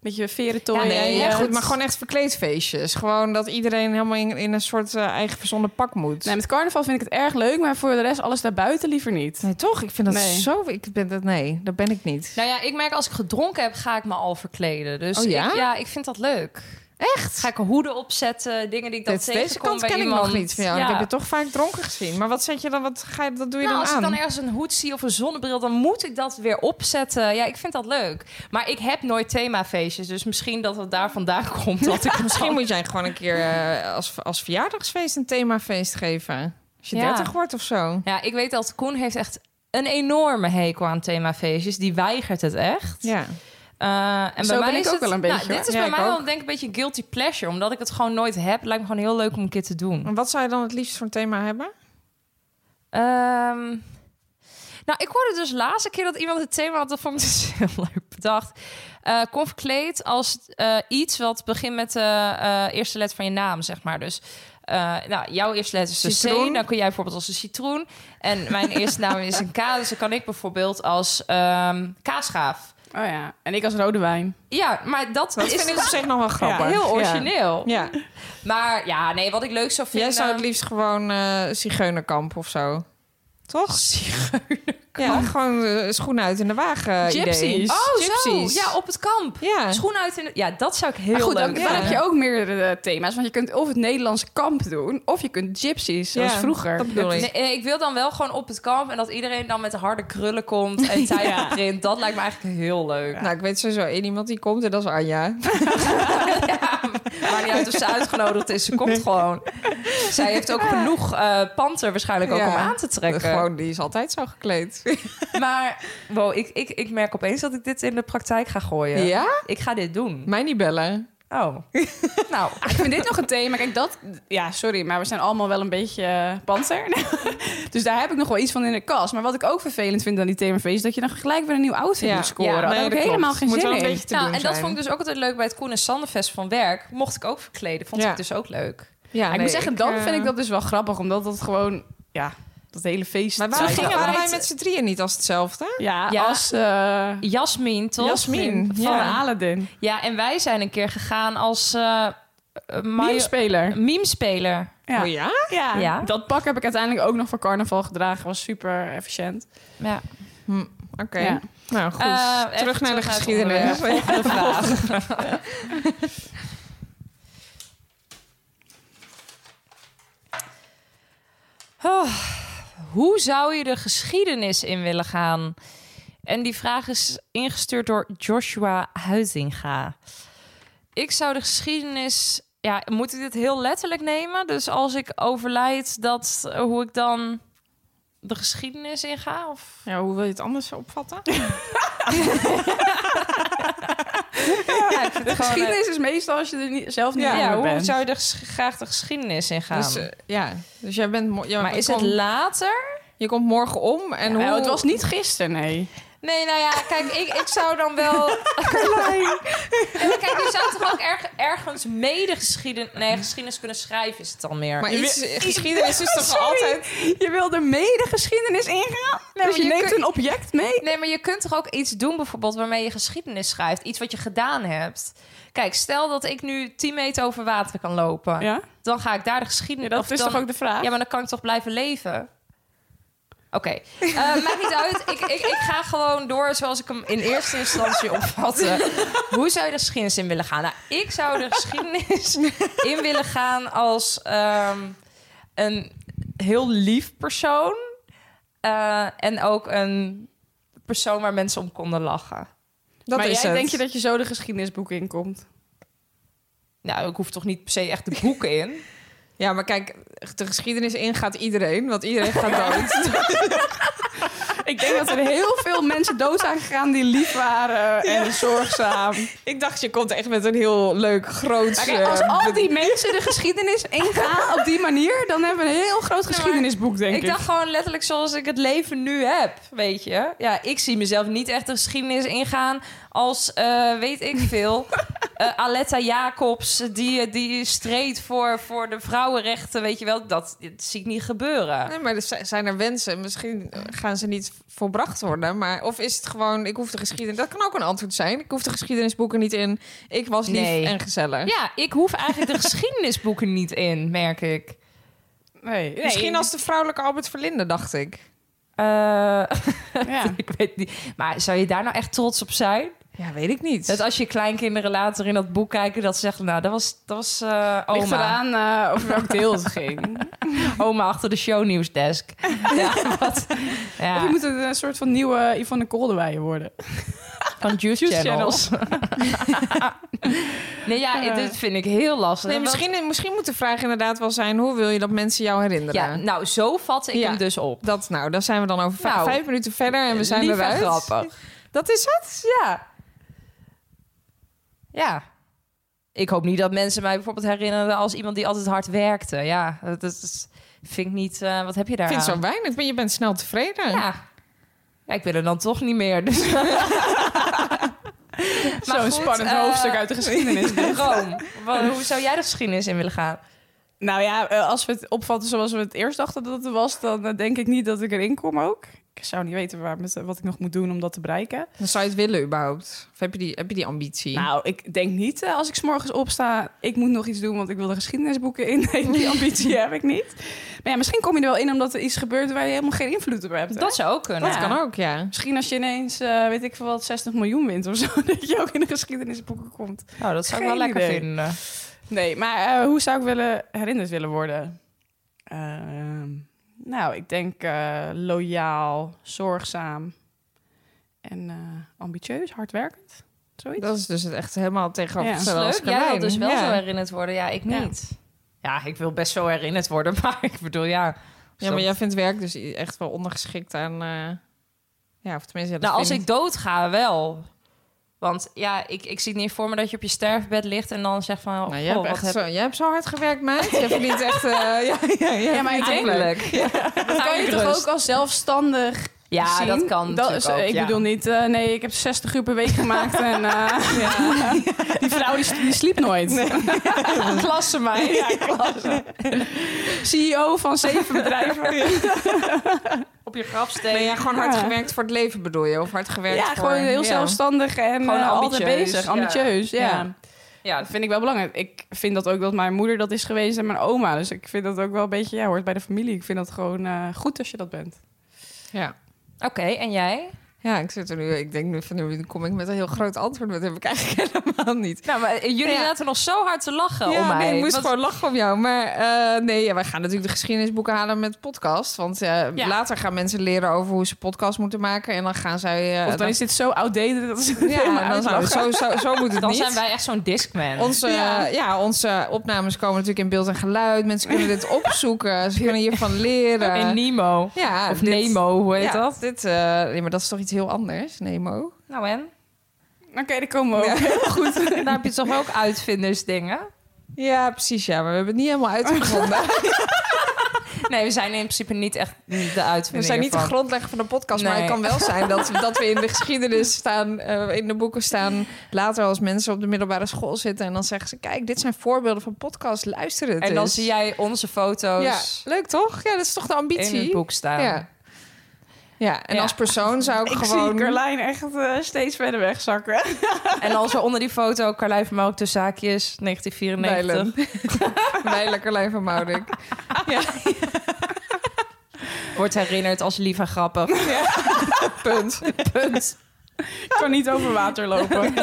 Speaker 4: met je veren tooi.
Speaker 5: Ja, nee,
Speaker 4: en je-
Speaker 6: Ja, goed, maar gewoon echt verkleedfeestjes. Gewoon dat iedereen helemaal in, in een soort eh, eigen verzonnen pak moet.
Speaker 4: Nee,
Speaker 6: Nee,
Speaker 4: met carnaval vind ik het erg leuk, maar voor de rest alles daarbuiten liever niet.
Speaker 6: toch? Ik vind dat
Speaker 4: Nee.
Speaker 6: zo... Ik ben dat, nee, dat ben ik niet.
Speaker 5: Nou ja, ik merk als ik gedronken heb, ga ik me al verkleden. Dus
Speaker 6: Oh ja?
Speaker 5: Ik, ja, ik vind dat leuk.
Speaker 6: Echt?
Speaker 5: Ga ik een hoeden opzetten, dingen die ik dan
Speaker 6: Dit-
Speaker 5: tegenkom
Speaker 6: deze kant
Speaker 5: bij
Speaker 6: ken
Speaker 5: iemand.
Speaker 6: ik nog niet van jou.
Speaker 5: Ja.
Speaker 6: Ik heb je toch vaak dronken gezien. Maar wat zet je dan? Wat, ga je, wat doe je
Speaker 5: nou, als
Speaker 6: dan aan?
Speaker 5: ik dan ergens een hoed zie of een zonnebril, dan moet ik dat weer opzetten. Ja, ik vind dat leuk. Maar ik heb nooit themafeestjes, dus misschien dat het daar vandaan komt. Dat ik het
Speaker 6: Misschien
Speaker 5: dan-
Speaker 6: moet jij gewoon een keer eh, als, als verjaardagsfeest een themafeest geven. Als je
Speaker 5: Ja.
Speaker 6: 30 wordt of zo.
Speaker 5: Ja, ik weet dat Koen heeft echt een enorme hekel aan themafeestjes. Die weigert het echt.
Speaker 6: Ja.
Speaker 5: Eh, en
Speaker 4: Zo
Speaker 5: bij mij
Speaker 4: ben ik
Speaker 5: is
Speaker 4: ook
Speaker 5: het-
Speaker 4: wel een
Speaker 5: nou,
Speaker 4: beetje,
Speaker 5: dit is
Speaker 6: hoor. Ja,
Speaker 5: bij
Speaker 6: ik
Speaker 5: mij wel
Speaker 6: ook.
Speaker 5: denk ik een beetje een guilty pleasure. Omdat ik het gewoon nooit heb, lijkt me gewoon heel leuk om een keer te doen.
Speaker 6: En wat zou je dan het liefst voor een thema hebben?
Speaker 5: Ehm, nou, ik hoorde dus laatste keer dat iemand het thema had. Dat vond ik dus heel leuk bedacht. Eh kom verkleed als eh, iets wat begint met de eh, eerste letter van je naam, zeg maar. Dus eh, nou, jouw eerste letter is de
Speaker 6: Citroen.
Speaker 5: C. Dan kun jij bijvoorbeeld als een citroen. En mijn eerste naam is een K. Dus dan kan ik bijvoorbeeld als ehm kaasgaaf.
Speaker 4: Oh ja, en ik als rode wijn.
Speaker 5: Ja, maar dat,
Speaker 6: Dat
Speaker 5: is
Speaker 6: vind ik op
Speaker 5: dus
Speaker 6: zich nog wel grappig.
Speaker 5: heel origineel.
Speaker 6: Ja. Ja.
Speaker 5: Maar ja, nee, wat ik leuk zou vinden...
Speaker 6: Jij zou het liefst gewoon eh zigeunerkamp of zo. Toch? Ja, gewoon eh, schoenen uit in de wagen eh,
Speaker 4: Gypsies.
Speaker 6: idee.
Speaker 5: Oh,
Speaker 6: Gypsies.
Speaker 5: zo. Ja, op het kamp.
Speaker 6: Ja.
Speaker 5: Schoen uit in de... Ja, dat zou ik heel
Speaker 4: Maar goed,
Speaker 5: leuk
Speaker 4: ook,
Speaker 5: vinden.
Speaker 4: dan heb je ook meerdere eh, thema's. Want je kunt of het Nederlandse kamp doen, of je kunt gypsies, zoals
Speaker 6: Ja,
Speaker 4: vroeger.
Speaker 6: Dat bedoel ik.
Speaker 5: Nee, eh, ik wil dan wel gewoon op het kamp en dat iedereen dan met de harde krullen komt en tijd print. Dat lijkt me eigenlijk heel leuk.
Speaker 6: Nou, ik weet sowieso één iemand die komt en dat is Anja.
Speaker 5: Maar niet uit of ze uitgenodigd is, ze komt gewoon. Zij heeft ook genoeg eh panter waarschijnlijk ook
Speaker 6: Ja.
Speaker 5: om aan te trekken.
Speaker 6: Gewoon, die is altijd zo gekleed.
Speaker 5: Maar wow, ik, ik, ik merk opeens dat ik dit in de praktijk ga gooien.
Speaker 6: Ja?
Speaker 5: Ik ga dit doen.
Speaker 6: Mij niet bellen.
Speaker 5: Oh. nou,
Speaker 4: Ah, Ik vind dit nog een thema. Kijk, dat... Ja, sorry, maar we zijn allemaal wel een beetje eh, panter. dus daar heb ik nog wel iets van in de kast. Maar wat ik ook vervelend vind aan die themafeest... is dat je dan gelijk weer een nieuw outfit
Speaker 6: Ja.
Speaker 4: moet scoren.
Speaker 5: Ja,
Speaker 4: Daar
Speaker 5: nee,
Speaker 4: heb ik
Speaker 6: dat klopt.
Speaker 4: helemaal geen
Speaker 6: Moet
Speaker 4: zin
Speaker 6: wel een
Speaker 4: in.
Speaker 6: beetje te
Speaker 5: nou
Speaker 6: doen
Speaker 5: en dat
Speaker 6: zijn.
Speaker 5: vond ik dus ook altijd leuk bij het Koen en Sanderfest van werk. Mocht ik ook verkleden, vond
Speaker 6: Ja.
Speaker 5: ik dus ook leuk.
Speaker 6: Ja,
Speaker 4: Maar ik
Speaker 6: nee,
Speaker 4: moet zeggen, dan
Speaker 6: eh,
Speaker 4: vind ik dat dus wel grappig. Omdat dat gewoon... Ja, dat hele feest...
Speaker 6: Maar waarom
Speaker 4: Ja,
Speaker 6: gingen
Speaker 5: altijd-
Speaker 6: wij met z'n drieën niet als hetzelfde?
Speaker 4: Ja,
Speaker 5: Ja.
Speaker 4: als... eh
Speaker 5: Jasmin, toch?
Speaker 6: Jasmin.
Speaker 4: van
Speaker 6: Ja.
Speaker 4: Aladdin.
Speaker 5: Ja, en wij zijn een keer gegaan als eh eh, Mario-
Speaker 4: Nieuwspeler.
Speaker 5: meme-speler.
Speaker 4: Ja.
Speaker 6: Oh ja?
Speaker 4: Ja.
Speaker 5: Ja.
Speaker 4: dat pak heb ik uiteindelijk ook nog voor carnaval gedragen. Was super efficiënt.
Speaker 5: Ja.
Speaker 6: Oké.
Speaker 4: Ja.
Speaker 6: Nou, goed.
Speaker 5: Eh, even
Speaker 6: terug naar de
Speaker 5: het
Speaker 6: geschiedenis.
Speaker 5: onderwerp. Volgende vraag. Oh, hoe zou je de geschiedenis in willen gaan? En die vraag is ingestuurd door Joshua Huizinga. Ik zou de geschiedenis... Ja, moet ik dit heel letterlijk nemen? Dus als ik overlijd, dat, eh, hoe ik dan de geschiedenis inga? Of...
Speaker 6: Ja, hoe wil je het anders opvatten?
Speaker 5: Ja, ik vind het gewoon, eh,
Speaker 4: Geschiedenis is meestal als je er niet, zelf niet
Speaker 5: Ja,
Speaker 4: ja,
Speaker 5: hoe
Speaker 4: bent.
Speaker 5: zou je er ges- graag de geschiedenis in gaan?
Speaker 6: Dus, eh, ja. Dus jij bent... mo- ja,
Speaker 5: maar
Speaker 6: je
Speaker 5: is het
Speaker 6: komt-
Speaker 5: later?
Speaker 6: Je komt morgen om en hoe...
Speaker 4: Nou, het was niet gisteren, nee.
Speaker 5: Nee, nou ja, kijk, ik, ik zou dan wel... Ja, maar kijk, je zou toch ook erg, ergens mede geschiedenis... Nee, geschiedenis kunnen schrijven is het dan meer.
Speaker 6: Maar
Speaker 5: Je
Speaker 6: iets,
Speaker 5: wil-
Speaker 6: geschiedenis is toch altijd...
Speaker 4: Je wil er mee de geschiedenis ingaan? dus je
Speaker 5: je
Speaker 4: neemt
Speaker 5: kun-
Speaker 4: een object mee?
Speaker 5: Nee, maar je kunt toch ook iets doen bijvoorbeeld waarmee je geschiedenis schrijft? Iets wat je gedaan hebt. Kijk, stel dat ik nu 10 meter over water kan lopen.
Speaker 4: Ja,
Speaker 5: Dan ga ik daar de
Speaker 4: Ja,
Speaker 5: geschiedenis...
Speaker 4: dat
Speaker 5: of
Speaker 4: is
Speaker 5: dan-
Speaker 4: toch ook de vraag?
Speaker 5: Ja, maar dan kan ik toch blijven leven? Oké, Eh, maakt niet uit. Ik, ik, ik ga gewoon door zoals ik hem in eerste instantie opvatte. Hoe zou je de geschiedenis in willen gaan? Nou, ik zou de geschiedenis in willen gaan als ehm, een heel lief persoon. Eh, en ook een persoon waar mensen om konden lachen.
Speaker 6: Dat
Speaker 4: maar
Speaker 6: is
Speaker 4: jij
Speaker 6: het.
Speaker 4: denk je dat je zo de geschiedenisboek inkomt?
Speaker 5: Nou, ik hoef toch niet per se echt de boeken in.
Speaker 6: Ja, maar kijk, de geschiedenis in gaat iedereen, want iedereen gaat dood.
Speaker 4: Ik denk dat er heel veel mensen dood zijn gegaan die lief waren en zorgzaam.
Speaker 6: ik dacht, je komt echt met een heel leuk groot...
Speaker 4: Maar
Speaker 6: eh,
Speaker 4: kijk, als al die mensen de geschiedenis ingaan op die manier, dan hebben we een heel groot geschiedenisboek, denk ik.
Speaker 5: Ik dacht gewoon letterlijk zoals ik het leven nu heb, weet je. Ja, ik zie mezelf niet echt de geschiedenis ingaan als, eh, weet ik veel, eh, Aletta Jacobs, die, die streed voor, voor de vrouwenrechten, weet je wel. Dat, dat zie ik niet gebeuren.
Speaker 6: Nee, maar er zi- zijn er wensen. Misschien eh, gaan ze niet volbracht worden. Maar of is het gewoon, ik hoef de geschiedenis... Dat kan ook een antwoord zijn. Ik hoef de geschiedenisboeken niet in. Ik was lief
Speaker 5: Nee.
Speaker 6: en gezellig.
Speaker 5: Ja, ik hoef eigenlijk de geschiedenisboeken niet in, merk ik.
Speaker 4: Nee, nee.
Speaker 6: Misschien als de vrouwelijke Albert Verlinde, dacht ik.
Speaker 5: Eh,
Speaker 4: Ja.
Speaker 5: ik weet niet. Maar zou je daar nou echt trots op zijn?
Speaker 6: Ja, weet ik niet.
Speaker 5: Dat als je kleinkinderen later in dat boek kijken, dat ze zeggen, nou, dat was, dat was eh oma.
Speaker 4: Ligt eraan eh, over welk deel het ging.
Speaker 5: Oma achter de shownieuwsdesk. ja, wat,
Speaker 4: Of
Speaker 5: ja,
Speaker 4: je moet een, eh, soort van nieuwe Yvonne Kolderweijer worden.
Speaker 5: van Juice,
Speaker 4: Juice
Speaker 5: Channels. nee, ja,
Speaker 4: Ja.
Speaker 5: dit vind ik heel lastig.
Speaker 6: Nee, misschien, misschien moet de vraag inderdaad wel zijn... hoe wil je dat mensen jou herinneren?
Speaker 5: Ja, nou, zo vat ik
Speaker 6: Ja.
Speaker 5: hem dus op.
Speaker 6: Dat, nou, daar zijn we dan over vijf,
Speaker 5: Nou,
Speaker 6: vijf minuten verder en we zijn
Speaker 5: Lief en
Speaker 6: eruit.
Speaker 5: grappig.
Speaker 6: Dat is het?
Speaker 5: Ja. Ja. Ik hoop niet dat mensen mij bijvoorbeeld herinneren als iemand die altijd hard werkte. Ja, dat is, vind ik niet... eh, wat heb je daar
Speaker 6: Ik vind het
Speaker 5: aan?
Speaker 6: zo weinig, maar je bent snel tevreden.
Speaker 5: Ja. ja, ik ben er dan toch niet meer. Dus Maar
Speaker 4: Zo'n
Speaker 5: goed,
Speaker 4: spannend
Speaker 5: eh,
Speaker 4: hoofdstuk uit de geschiedenis.
Speaker 5: Rome, wat- hoe zou jij de geschiedenis in willen gaan?
Speaker 4: Nou ja, eh, als we het opvatten zoals we het eerst dachten dat het was, dan eh, denk ik niet dat ik erin kom ook. Ik zou niet weten waar, met, wat ik nog moet doen om dat te bereiken.
Speaker 6: Dan zou je het willen überhaupt? Of heb je die, heb je die ambitie?
Speaker 4: Nou, ik denk niet eh, als ik 's morgens opsta, ik moet nog iets doen, want ik wil de geschiedenisboeken in. Nee, die ambitie heb ik niet. Maar ja, misschien kom je er wel in omdat er iets gebeurt waar je helemaal geen invloed op hebt. hè?
Speaker 5: Dat zou ook kunnen.
Speaker 6: dat
Speaker 4: ja.
Speaker 6: kan ook, ja.
Speaker 4: Misschien als je ineens, eh, weet ik veel wat, 60 miljoen wint of zo, dat je ook in de geschiedenisboeken komt.
Speaker 5: Nou, dat zou ik
Speaker 4: Geen
Speaker 5: wel lekker
Speaker 4: idee.
Speaker 5: vinden.
Speaker 4: Nee, maar eh, hoe zou ik willen herinnerd willen worden? Ehm, nou, ik denk eh, loyaal, zorgzaam en eh, ambitieus, hardwerkend. Zoiets.
Speaker 6: Dat is dus het echt helemaal tegenovergestelde
Speaker 5: Leuk,
Speaker 6: als
Speaker 5: jij wil
Speaker 6: Carlijn.
Speaker 5: dus wel
Speaker 6: ja.
Speaker 5: zo herinnerd worden. Ja, ik
Speaker 4: Ja.
Speaker 5: niet. Ja. ik wil best zo herinnerd worden, maar ik bedoel, ja.
Speaker 6: Ja, maar jij vindt werk dus i- echt wel ondergeschikt aan... eh, Ja, of tenminste... Ja, dat
Speaker 5: Nou, als
Speaker 6: vind
Speaker 5: ik doodga, wel. Want ja, ik, ik zie het niet voor me dat je op je sterfbed ligt en dan zegt van...
Speaker 6: Nou,
Speaker 5: goh,
Speaker 6: jij, hebt
Speaker 5: wat
Speaker 6: echt
Speaker 5: heb-
Speaker 6: zo, jij hebt zo hard gewerkt, meid. Je verdient echt... eh, ja, ja, ja,
Speaker 4: maar ik denk-
Speaker 5: Eindelijk.
Speaker 4: dat kan dus. je toch
Speaker 5: rust.
Speaker 4: ook als zelfstandig
Speaker 5: Ja,
Speaker 4: zien?
Speaker 5: dat kan
Speaker 4: Dat
Speaker 5: natuurlijk
Speaker 4: is-
Speaker 5: ook,
Speaker 4: Ik
Speaker 5: ja.
Speaker 4: bedoel niet, eh, nee, ik heb 60 uur per week gemaakt en eh, die vrouw die, die sliep nooit.
Speaker 5: Klasse mij.
Speaker 4: CEO E van zeven bedrijven.
Speaker 5: Op je grafsteen.
Speaker 6: Nee, ja, gewoon hard
Speaker 4: Ja.
Speaker 6: gewerkt voor het leven bedoel je? Of hard gewerkt
Speaker 4: Ja,
Speaker 6: voor...
Speaker 4: gewoon heel
Speaker 6: ja.
Speaker 4: zelfstandig en
Speaker 5: Gewoon
Speaker 4: eh, altijd
Speaker 5: ambitieus,
Speaker 4: bezig,
Speaker 5: ja.
Speaker 4: ambitieus. ja. Nou,
Speaker 5: Ja. Ja,
Speaker 4: Dat vind ik wel belangrijk. Ik vind dat ook dat mijn moeder dat is geweest en mijn oma. Dus ik vind dat ook wel een beetje, ja, hoort bij de familie. Ik vind dat gewoon eh, goed als je dat bent.
Speaker 6: Ja.
Speaker 5: oké. en jij?
Speaker 6: ja, ik zit er nu... Ik denk nu van, nu kom ik met een heel groot antwoord. Maar dat heb ik eigenlijk helemaal niet.
Speaker 5: Nou, maar eh, jullie laten nog zo hard te lachen om
Speaker 6: ja,
Speaker 5: mij.
Speaker 6: nee, ik moest
Speaker 5: Want-
Speaker 6: gewoon lachen om jou. Maar eh, nee, ja, wij gaan natuurlijk de geschiedenisboeken halen met podcast. Want eh,
Speaker 5: Ja.
Speaker 6: later gaan mensen leren over hoe ze podcast moeten maken. En dan gaan zij... eh,
Speaker 4: of dan is dit zo outdated dat ze het helemaal
Speaker 6: Ja, dan zou-
Speaker 4: uitlachen.
Speaker 6: zo, zo, zo moet het
Speaker 5: Dan
Speaker 6: niet.
Speaker 5: zijn wij echt zo'n discman.
Speaker 6: Onze, eh, ja. onze opnames komen natuurlijk in beeld en geluid. Mensen kunnen dit opzoeken. Ze kunnen hiervan leren.
Speaker 5: In Nemo.
Speaker 6: ja,
Speaker 5: of
Speaker 6: dit-
Speaker 5: Nemo, hoe heet
Speaker 6: ja,
Speaker 5: dat?
Speaker 6: Dit, eh, nee, maar dat is toch iets heel anders, Nemo?
Speaker 5: Nou en?
Speaker 4: Oké, daar komen we ook.
Speaker 5: Daar heb je toch ook uitvindersdingen?
Speaker 6: Ja, precies. Ja, maar we hebben het niet helemaal uitgevonden.
Speaker 5: Nee, we zijn in principe niet echt de
Speaker 6: we
Speaker 5: uitvinder.
Speaker 6: zijn niet de grondlegger van de podcast. Maar
Speaker 5: Nee.
Speaker 6: het kan wel zijn dat, dat we in de geschiedenis staan, eh, in de boeken staan. Later als mensen op de middelbare school zitten. En dan zeggen ze, kijk, dit zijn voorbeelden van podcasts. Luister het
Speaker 5: En dan
Speaker 6: eens."
Speaker 5: zie jij onze foto's
Speaker 6: Ja, leuk toch? Ja, dat is toch de ambitie?
Speaker 5: in het boek staan.
Speaker 6: Ja. Ja, en
Speaker 5: Ja.
Speaker 6: als persoon zou ik,
Speaker 4: Ik
Speaker 6: gewoon...
Speaker 4: zie Carlijn echt eh, steeds verder wegzakken.
Speaker 5: En dan zo onder die foto, Carlijn van Melk, de zaakjes, 1994.
Speaker 6: Wijlen. Wijlen Carlijn van Moudik.
Speaker 5: Wordt herinnerd als lief en grappig.
Speaker 6: Punt.
Speaker 5: Punt.
Speaker 4: Ik kan niet over water lopen.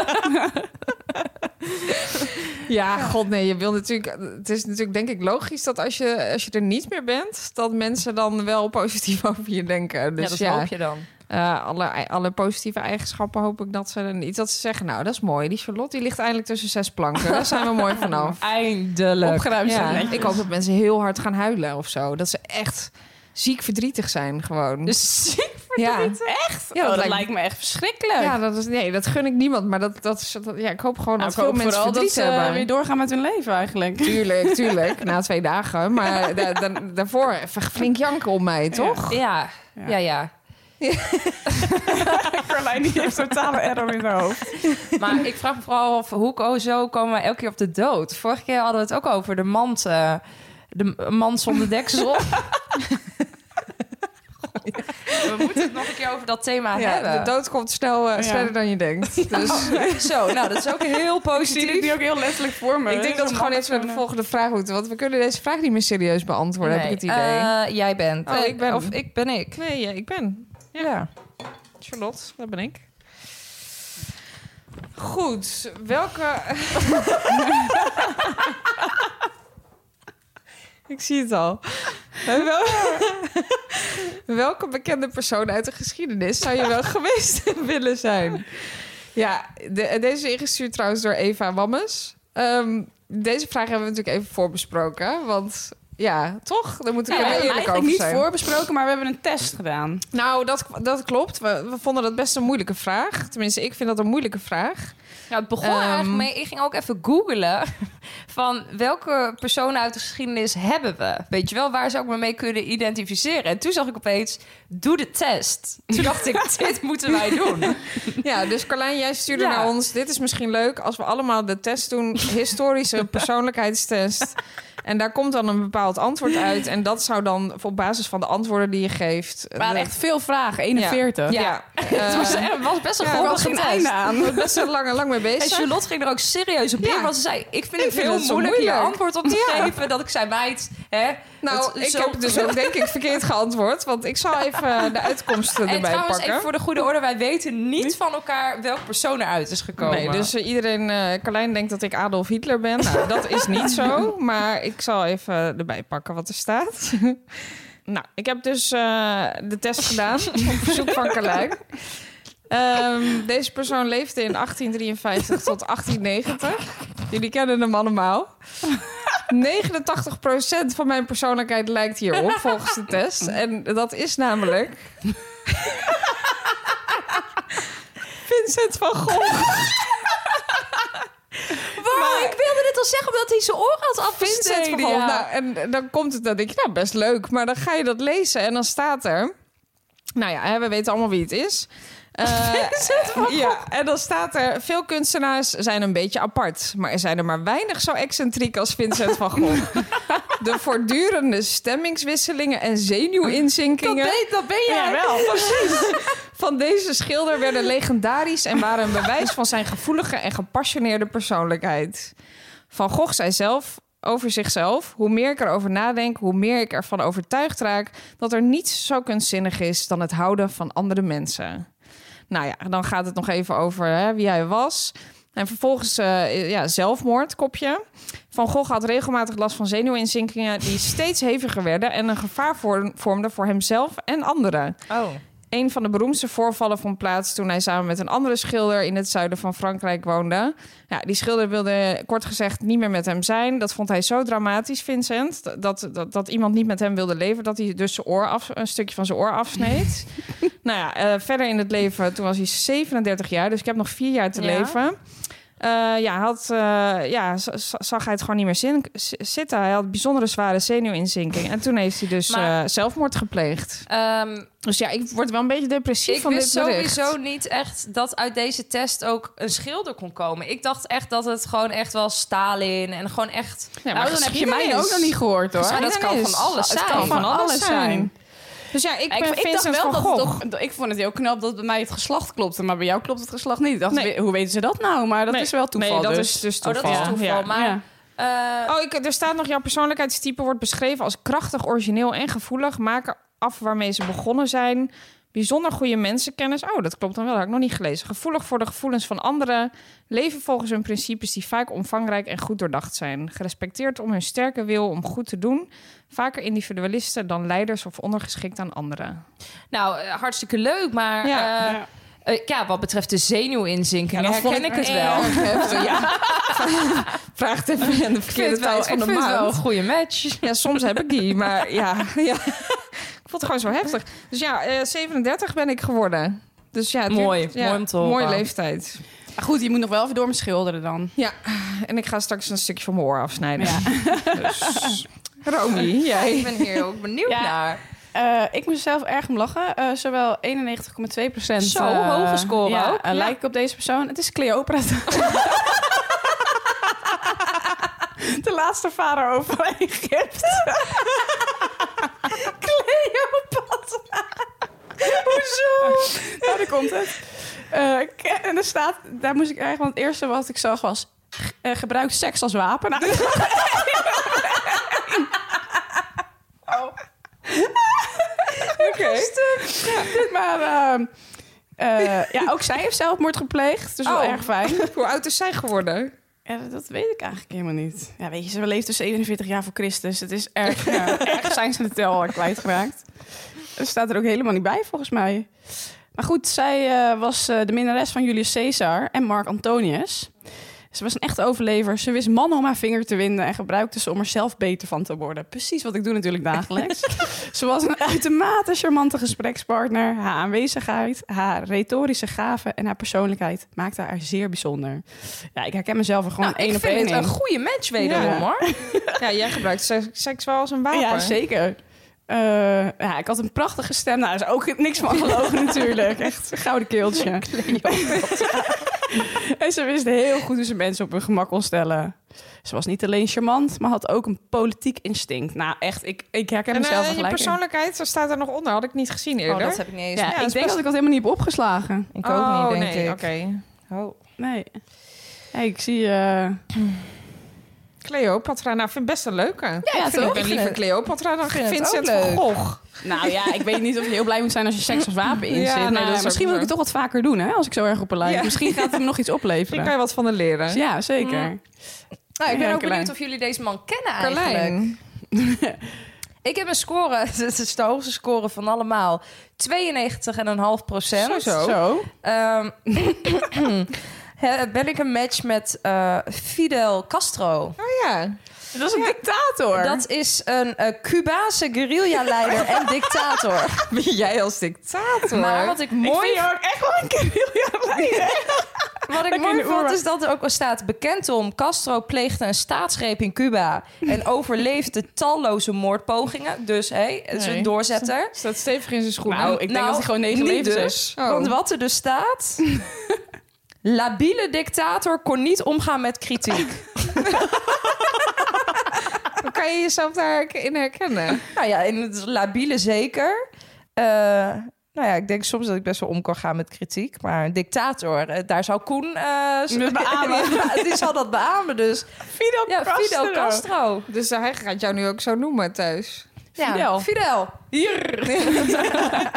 Speaker 6: Ja, god nee, je wil natuurlijk... Het is natuurlijk denk ik logisch dat als je, als je er niet meer bent... dat mensen dan wel positief over je denken.
Speaker 5: ja,
Speaker 6: Dus
Speaker 5: dat
Speaker 6: ja,
Speaker 5: hoop je dan.
Speaker 6: eh, alle, alle positieve eigenschappen hoop ik dat ze er niet... Dat ze zeggen, nou, dat is mooi. Die Charlotte die ligt eindelijk tussen zes planken. Daar zijn we mooi vanaf.
Speaker 5: Eindelijk.
Speaker 4: Opgeruimd zijn.
Speaker 6: Ja,
Speaker 4: netjes.
Speaker 6: ik hoop dat mensen heel hard gaan huilen of zo. Dat ze echt ziek verdrietig zijn gewoon.
Speaker 5: Dus
Speaker 6: ja.
Speaker 4: Echt?
Speaker 6: Ja,
Speaker 4: Oh,
Speaker 6: dat
Speaker 4: dat
Speaker 6: lijkt-
Speaker 4: lijkt... me echt verschrikkelijk.
Speaker 6: Ja, dat is, nee, dat gun ik niemand. Maar dat, dat, is, dat- ja, ik hoop gewoon
Speaker 4: Nou,
Speaker 6: dat veel mensen
Speaker 4: vooral dat
Speaker 6: verdriet
Speaker 4: ze
Speaker 6: hebben.
Speaker 4: weer doorgaan met hun leven eigenlijk.
Speaker 6: Tuurlijk, tuurlijk. na twee dagen. Maar da- da- daarvoor even flink janken om mij, toch?
Speaker 5: ja, ja, ja.
Speaker 4: Carlijn die heeft totale error in haar hoofd.
Speaker 5: Maar ik vraag me vooral af, hoe ko- zo komen we elke keer op de dood? Vorige keer hadden we het ook over de mand, eh, de m- man zonder deksel. We moeten het nog een keer over dat thema
Speaker 6: de
Speaker 5: hebben.
Speaker 6: dood komt snel, eh,
Speaker 4: Ja.
Speaker 6: sneller dan je denkt. Dus
Speaker 5: Zo, nou, dat is ook heel
Speaker 4: Ik zie dit
Speaker 5: positief.
Speaker 4: nu ook heel letterlijk voor me.
Speaker 6: ik denk dat we gewoon even naar de volgende vraag moeten. Want we kunnen deze vraag niet meer serieus beantwoorden, heb ik het
Speaker 5: Nee,
Speaker 6: idee.
Speaker 5: eh, jij bent.
Speaker 6: Oh,
Speaker 5: Eh,
Speaker 6: ik ben.
Speaker 5: Of ik ben ik.
Speaker 6: nee, ja, ik ben.
Speaker 4: Ja.
Speaker 6: Charlotte, dat ben ik. Goed, welke... ik zie het al. Wel- welke bekende persoon uit de geschiedenis zou je wel geweest willen zijn? Ja, de- deze is ingestuurd trouwens door Eva Wammes. Ehm, deze vraag hebben we natuurlijk even voorbesproken, want... Ja, toch? Daar moet ik
Speaker 4: we
Speaker 6: even
Speaker 4: hebben
Speaker 6: eerlijk
Speaker 4: eigenlijk
Speaker 6: over
Speaker 4: niet
Speaker 6: zijn.
Speaker 4: voorbesproken, maar we hebben een test gedaan.
Speaker 6: Nou, dat, dat klopt. We, we vonden dat best een moeilijke vraag. Tenminste, ik vind dat een moeilijke vraag.
Speaker 5: Nou, het begon
Speaker 6: Ehm.
Speaker 5: eigenlijk mee. Ik ging ook even googlen van welke personen uit de geschiedenis hebben we. Weet je wel, waar zou ik me mee kunnen identificeren? En toen zag ik opeens, doe de test. Toen dacht ik, dit moeten wij doen.
Speaker 6: Ja, dus Carlijn, jij stuurde
Speaker 5: Ja.
Speaker 6: naar ons. Dit is misschien leuk als we allemaal de test doen. Historische persoonlijkheidstest. En daar komt dan een bepaald antwoord uit. En dat zou dan op basis van de antwoorden die je geeft. eh,
Speaker 4: Er waren echt veel vragen, 41.
Speaker 5: Ja.
Speaker 6: Ja, eh,
Speaker 5: Het was, er was best een
Speaker 6: ja,
Speaker 4: Er
Speaker 5: grondige
Speaker 4: was geen
Speaker 5: test.
Speaker 4: einde aan.
Speaker 6: we zijn best wel lang, lang mee
Speaker 5: En
Speaker 6: bezig.
Speaker 5: Charlotte ging er ook serieus op in,
Speaker 6: Ja.
Speaker 5: want ze zei... ik vind
Speaker 6: Ik
Speaker 5: het
Speaker 6: vind
Speaker 5: heel
Speaker 6: het zo
Speaker 5: moeilijk hier
Speaker 6: moeilijk.
Speaker 5: antwoord op te geven... dat ik zei, meid, hè?
Speaker 6: Nou,
Speaker 5: het-
Speaker 6: ik
Speaker 5: zo-
Speaker 6: heb dus ook denk ik verkeerd geantwoord. Want ik zal even de uitkomsten
Speaker 5: En
Speaker 6: erbij
Speaker 5: trouwens,
Speaker 6: pakken.
Speaker 5: even voor de goede orde... wij weten niet van elkaar welke persoon eruit is gekomen.
Speaker 6: Nee, dus eh, iedereen, eh Carlijn denkt dat ik Adolf Hitler ben. Nou, dat is niet zo. Maar ik zal even erbij pakken wat er staat. nou, ik heb dus eh, de test gedaan op verzoek van Carlijn. Ehm, deze persoon leefde in 1853 tot 1890. Jullie kennen hem allemaal. 89% van mijn persoonlijkheid lijkt hierop volgens de test. En dat is namelijk. Vincent van Gogh.
Speaker 5: Wow, ik wilde dit al zeggen omdat hij zijn oor had
Speaker 6: Vincent
Speaker 5: afgesneden.
Speaker 6: van
Speaker 5: ja.
Speaker 6: Gogh. Nou, en, en dan komt het, dan denk je, nou best leuk. Maar dan ga je dat lezen en dan staat er... Nou ja, hè, we weten allemaal wie het is. Eh, ja, en dan staat er... Veel kunstenaars zijn een beetje apart. Maar er zijn er maar weinig zo excentriek als Vincent van Gogh. De voortdurende stemmingswisselingen en zenuwinzinkingen...
Speaker 5: dat ben jij.
Speaker 6: van deze schilder werden legendarisch en waren een bewijs van zijn gevoelige en gepassioneerde persoonlijkheid. Van Gogh zei zelf over zichzelf: hoe meer ik erover nadenk, hoe meer ik ervan overtuigd raak dat er niets zo kunstzinnig is dan het houden van andere mensen. Nou ja, dan gaat het nog even over hè, wie hij was. En vervolgens eh, ja, zelfmoord, kopje. Van Gogh had regelmatig last van zenuwinzinkingen die steeds heviger werden en een gevaar vorm- vormden voor hemzelf en anderen.
Speaker 5: Oh.
Speaker 6: Een van de beroemdste voorvallen vond plaats toen hij samen met een andere schilder in het zuiden van Frankrijk woonde. Ja, die schilder wilde kort gezegd niet meer met hem zijn. Dat vond hij zo dramatisch, Vincent, dat- dat, dat, dat iemand niet met hem wilde leven, dat hij dus zijn oor af, een stukje van zijn oor afsneed. nou ja, eh, verder in het leven, toen was hij 37 jaar, dus ik heb nog vier jaar te
Speaker 5: Ja.
Speaker 6: leven. Eh, ja, had, eh, ja, z- z- zag hij het gewoon niet meer zin, z- zitten. Hij had bijzondere zware zenuwinzinking. En toen heeft hij dus
Speaker 5: Maar-
Speaker 6: eh, zelfmoord gepleegd.
Speaker 5: Ehm,
Speaker 6: Dus ja, ik word wel een beetje depressief
Speaker 5: ik
Speaker 6: van dit
Speaker 5: wist
Speaker 6: bericht.
Speaker 5: sowieso niet echt dat uit deze test ook een schilder kon komen. Ik dacht echt dat het gewoon echt wel Stalin en gewoon echt...
Speaker 6: Ja,
Speaker 4: nou, dan heb je mij
Speaker 5: dus.
Speaker 4: ook nog niet gehoord hoor.
Speaker 5: Maar dat kan van alles
Speaker 6: Het
Speaker 5: zijn.
Speaker 6: kan van
Speaker 4: alles
Speaker 6: alles zijn.
Speaker 4: zijn.
Speaker 6: Dus ja, ik ben
Speaker 4: Ik, ik dacht
Speaker 6: Vincent
Speaker 4: wel
Speaker 6: van
Speaker 4: dat
Speaker 6: Gogh.
Speaker 4: het ook- dat- Ik vond het heel knap dat bij mij het geslacht klopte, maar bij jou klopt het geslacht niet. Ik dacht,
Speaker 6: Nee.
Speaker 4: we- hoe weten ze dat nou? Maar dat
Speaker 6: Nee,
Speaker 4: is wel toeval.
Speaker 6: Nee, dat
Speaker 4: dus.
Speaker 6: is dus
Speaker 5: Oh,
Speaker 6: toeval.
Speaker 5: dat is toeval.
Speaker 6: Ja.
Speaker 5: Maar
Speaker 4: Ja.
Speaker 5: eh,
Speaker 6: Oh, ik, er staat nog, jouw persoonlijkheidstype wordt beschreven als krachtig, origineel en gevoelig. Maken af waarmee ze begonnen zijn. Bijzonder goede mensenkennis. Oh, dat klopt dan wel. Dat had ik nog niet gelezen. Gevoelig voor de gevoelens van anderen. Leven volgens hun principes die vaak omvangrijk en goed doordacht zijn. Gerespecteerd om hun sterke wil om goed te doen. Vaker individualisten dan leiders of ondergeschikt aan anderen.
Speaker 5: Nou, eh, hartstikke leuk, maar...
Speaker 6: Ja,
Speaker 5: Ja, ja wat betreft de zenuwinzinking, dan herken ik het wel.
Speaker 6: Erg heftig, ja. Vraag het even aan de
Speaker 5: Ik vind
Speaker 6: verkeerde
Speaker 5: het wel, ik
Speaker 6: tijd van
Speaker 5: vind
Speaker 6: de
Speaker 5: het wel een
Speaker 6: maand.
Speaker 5: goede match.
Speaker 6: Ja, soms heb ik die, maar ja. ja. Ik vond het gewoon zo heftig. Dus ja, eh, 37 ben ik geworden. Dus ja, het duurt-
Speaker 5: Mooi,
Speaker 6: ja,
Speaker 5: mooi om te horen.
Speaker 6: Mooie leeftijd.
Speaker 4: Maar goed, je moet nog wel even door me schilderen dan.
Speaker 6: En ik ga straks een stukje van mijn oor afsnijden.
Speaker 4: Ja.
Speaker 6: Dus, Romy, jij.
Speaker 5: Ik ben hier ook benieuwd
Speaker 4: Ja.
Speaker 5: naar.
Speaker 4: Eh, ik moest zelf erg om lachen. Eh, zowel 91,2 procent.
Speaker 5: Zo, hoge score
Speaker 4: ja,
Speaker 5: ook.
Speaker 4: eh, lijk ik op deze persoon. Het is Cleopatra. De laatste farao van Egypte. Cleopatra. Hoezo? Nou, daar komt het. Eh, k- en er staat, daar moest ik eigenlijk, want het eerste wat ik zag was... g- eh, gebruik seks als wapen. Nou,
Speaker 6: Oké.
Speaker 4: maar ehm, eh, ja, ook zij heeft zelfmoord gepleegd. Dus wel
Speaker 6: Oh.
Speaker 4: erg fijn.
Speaker 6: Hoe oud is zij geworden?
Speaker 4: Ja, dat- dat weet ik eigenlijk helemaal niet. Ja, weet je, ze leeft dus 41 jaar voor Christus. Het is erg, ja, erg zijn ze de tel al kwijtgeraakt. Dat staat er ook helemaal niet bij, volgens mij. Maar goed, zij eh, was eh, de minnares van Julius Caesar en Mark Antonius. Ze was een echte overlever. Ze wist mannen om haar vinger te winden en gebruikte ze om er zelf beter van te worden. Precies wat ik doe natuurlijk dagelijks. ze was een uitermate charmante gesprekspartner. Haar aanwezigheid, haar retorische gaven en haar persoonlijkheid maakte haar zeer bijzonder. Ja, ik herken mezelf er gewoon
Speaker 5: Nou,
Speaker 4: één
Speaker 5: ik
Speaker 4: op
Speaker 5: vind
Speaker 4: één
Speaker 5: het
Speaker 4: in.
Speaker 5: een goede match wederom,
Speaker 4: Ja.
Speaker 5: hoor.
Speaker 6: Ja, jij gebruikt seks, seks wel als een wapen.
Speaker 4: Ja, zeker. Eh, ja, ik had een prachtige stem. Nou, daar is ook niks van gelogen natuurlijk. Echt een gouden keeltje. en ze wist heel goed hoe ze mensen op hun gemak kon stellen. Ze was niet alleen charmant, maar had ook een politiek instinct. Nou, echt, ik, ik herken
Speaker 6: En
Speaker 4: mezelf er
Speaker 6: eh, je
Speaker 4: gelijk in.
Speaker 6: persoonlijkheid, daar staat er nog onder. Had ik niet gezien
Speaker 7: Oh,
Speaker 6: eerder.
Speaker 7: dat heb ik niet eens.
Speaker 4: Ja,
Speaker 6: Ja, dat
Speaker 4: ik
Speaker 6: is
Speaker 4: denk
Speaker 6: best-
Speaker 4: dat ik dat helemaal niet heb opgeslagen.
Speaker 7: Ik ook
Speaker 6: Oh,
Speaker 7: niet, denk
Speaker 6: nee,
Speaker 7: ik.
Speaker 6: Oké.
Speaker 7: Oh.
Speaker 4: Nee. Hey, ik zie... eh,
Speaker 6: Cleopatra, nou, vind ik best een leuke. Ja,
Speaker 4: ja,
Speaker 6: vind
Speaker 4: toch?
Speaker 6: ik ben liever Cleopatra dan
Speaker 7: vind het
Speaker 6: Vincent
Speaker 7: ook
Speaker 6: van
Speaker 7: leuk.
Speaker 6: Gogh.
Speaker 4: Nou ja, ik weet niet of je heel blij moet zijn als je seks als wapen in
Speaker 6: Ja,
Speaker 4: zit.
Speaker 6: nee,
Speaker 4: Maar
Speaker 6: dat is ook
Speaker 4: misschien wil ik
Speaker 6: zo.
Speaker 4: het toch wat vaker doen, hè? Als ik zo erg op een lijn.
Speaker 6: Ja.
Speaker 4: Misschien gaat het me nog iets
Speaker 6: Daar
Speaker 4: opleveren.
Speaker 6: kan je wat van de leren.
Speaker 4: Ja, zeker.
Speaker 5: Nou, ik ben
Speaker 4: Ja,
Speaker 5: ook benieuwd
Speaker 4: Carlijn.
Speaker 5: of jullie deze man kennen eigenlijk.
Speaker 6: Carlijn.
Speaker 5: Ik heb een score, het is de hoogste score van allemaal, 92,5 procent. Ehm,
Speaker 6: Zo, zo.
Speaker 4: Zo.
Speaker 5: ben ik een match met eh, Fidel Castro.
Speaker 6: Oh ja.
Speaker 4: Dat is een dictator.
Speaker 5: Dat is een eh, Cubaanse guerrilla-leider en dictator.
Speaker 6: Ben jij als dictator?
Speaker 5: Maar wat ik
Speaker 4: ik
Speaker 5: mooi,
Speaker 4: vind je ook echt wel een guerrilla leider.
Speaker 5: wat ik
Speaker 4: Lekker in
Speaker 5: mooi
Speaker 4: de
Speaker 5: vond
Speaker 4: oerwoud.
Speaker 5: is dat er ook al staat bekend om... Castro pleegde een staatsgreep in Cuba en overleefde talloze moordpogingen. Dus hé, het is
Speaker 6: Nee.
Speaker 5: een doorzetter.
Speaker 6: Staat stevig in zijn schoenen.
Speaker 4: Nou, ik denk dat hij gewoon negen
Speaker 5: niet
Speaker 4: levens
Speaker 5: dus.
Speaker 4: is.
Speaker 6: Oh.
Speaker 5: Want wat er dus staat... Labiele dictator kon niet omgaan met kritiek.
Speaker 6: Hoe kan je jezelf daarin herkennen?
Speaker 5: nou ja, in het labiele zeker. Eh, nou ja, ik denk soms dat ik best wel om kan gaan met kritiek. Maar een dictator, eh, daar zou Koen... eh, z-
Speaker 4: Met beamen.
Speaker 5: die zal dat beamen, dus...
Speaker 4: Fidel
Speaker 5: Ja,
Speaker 4: Castro.
Speaker 5: Fidel Castro.
Speaker 6: Dus hij gaat jou nu ook zo noemen thuis.
Speaker 5: Ja,
Speaker 4: Fidel.
Speaker 5: Fidel.
Speaker 4: Hier.
Speaker 6: Ja,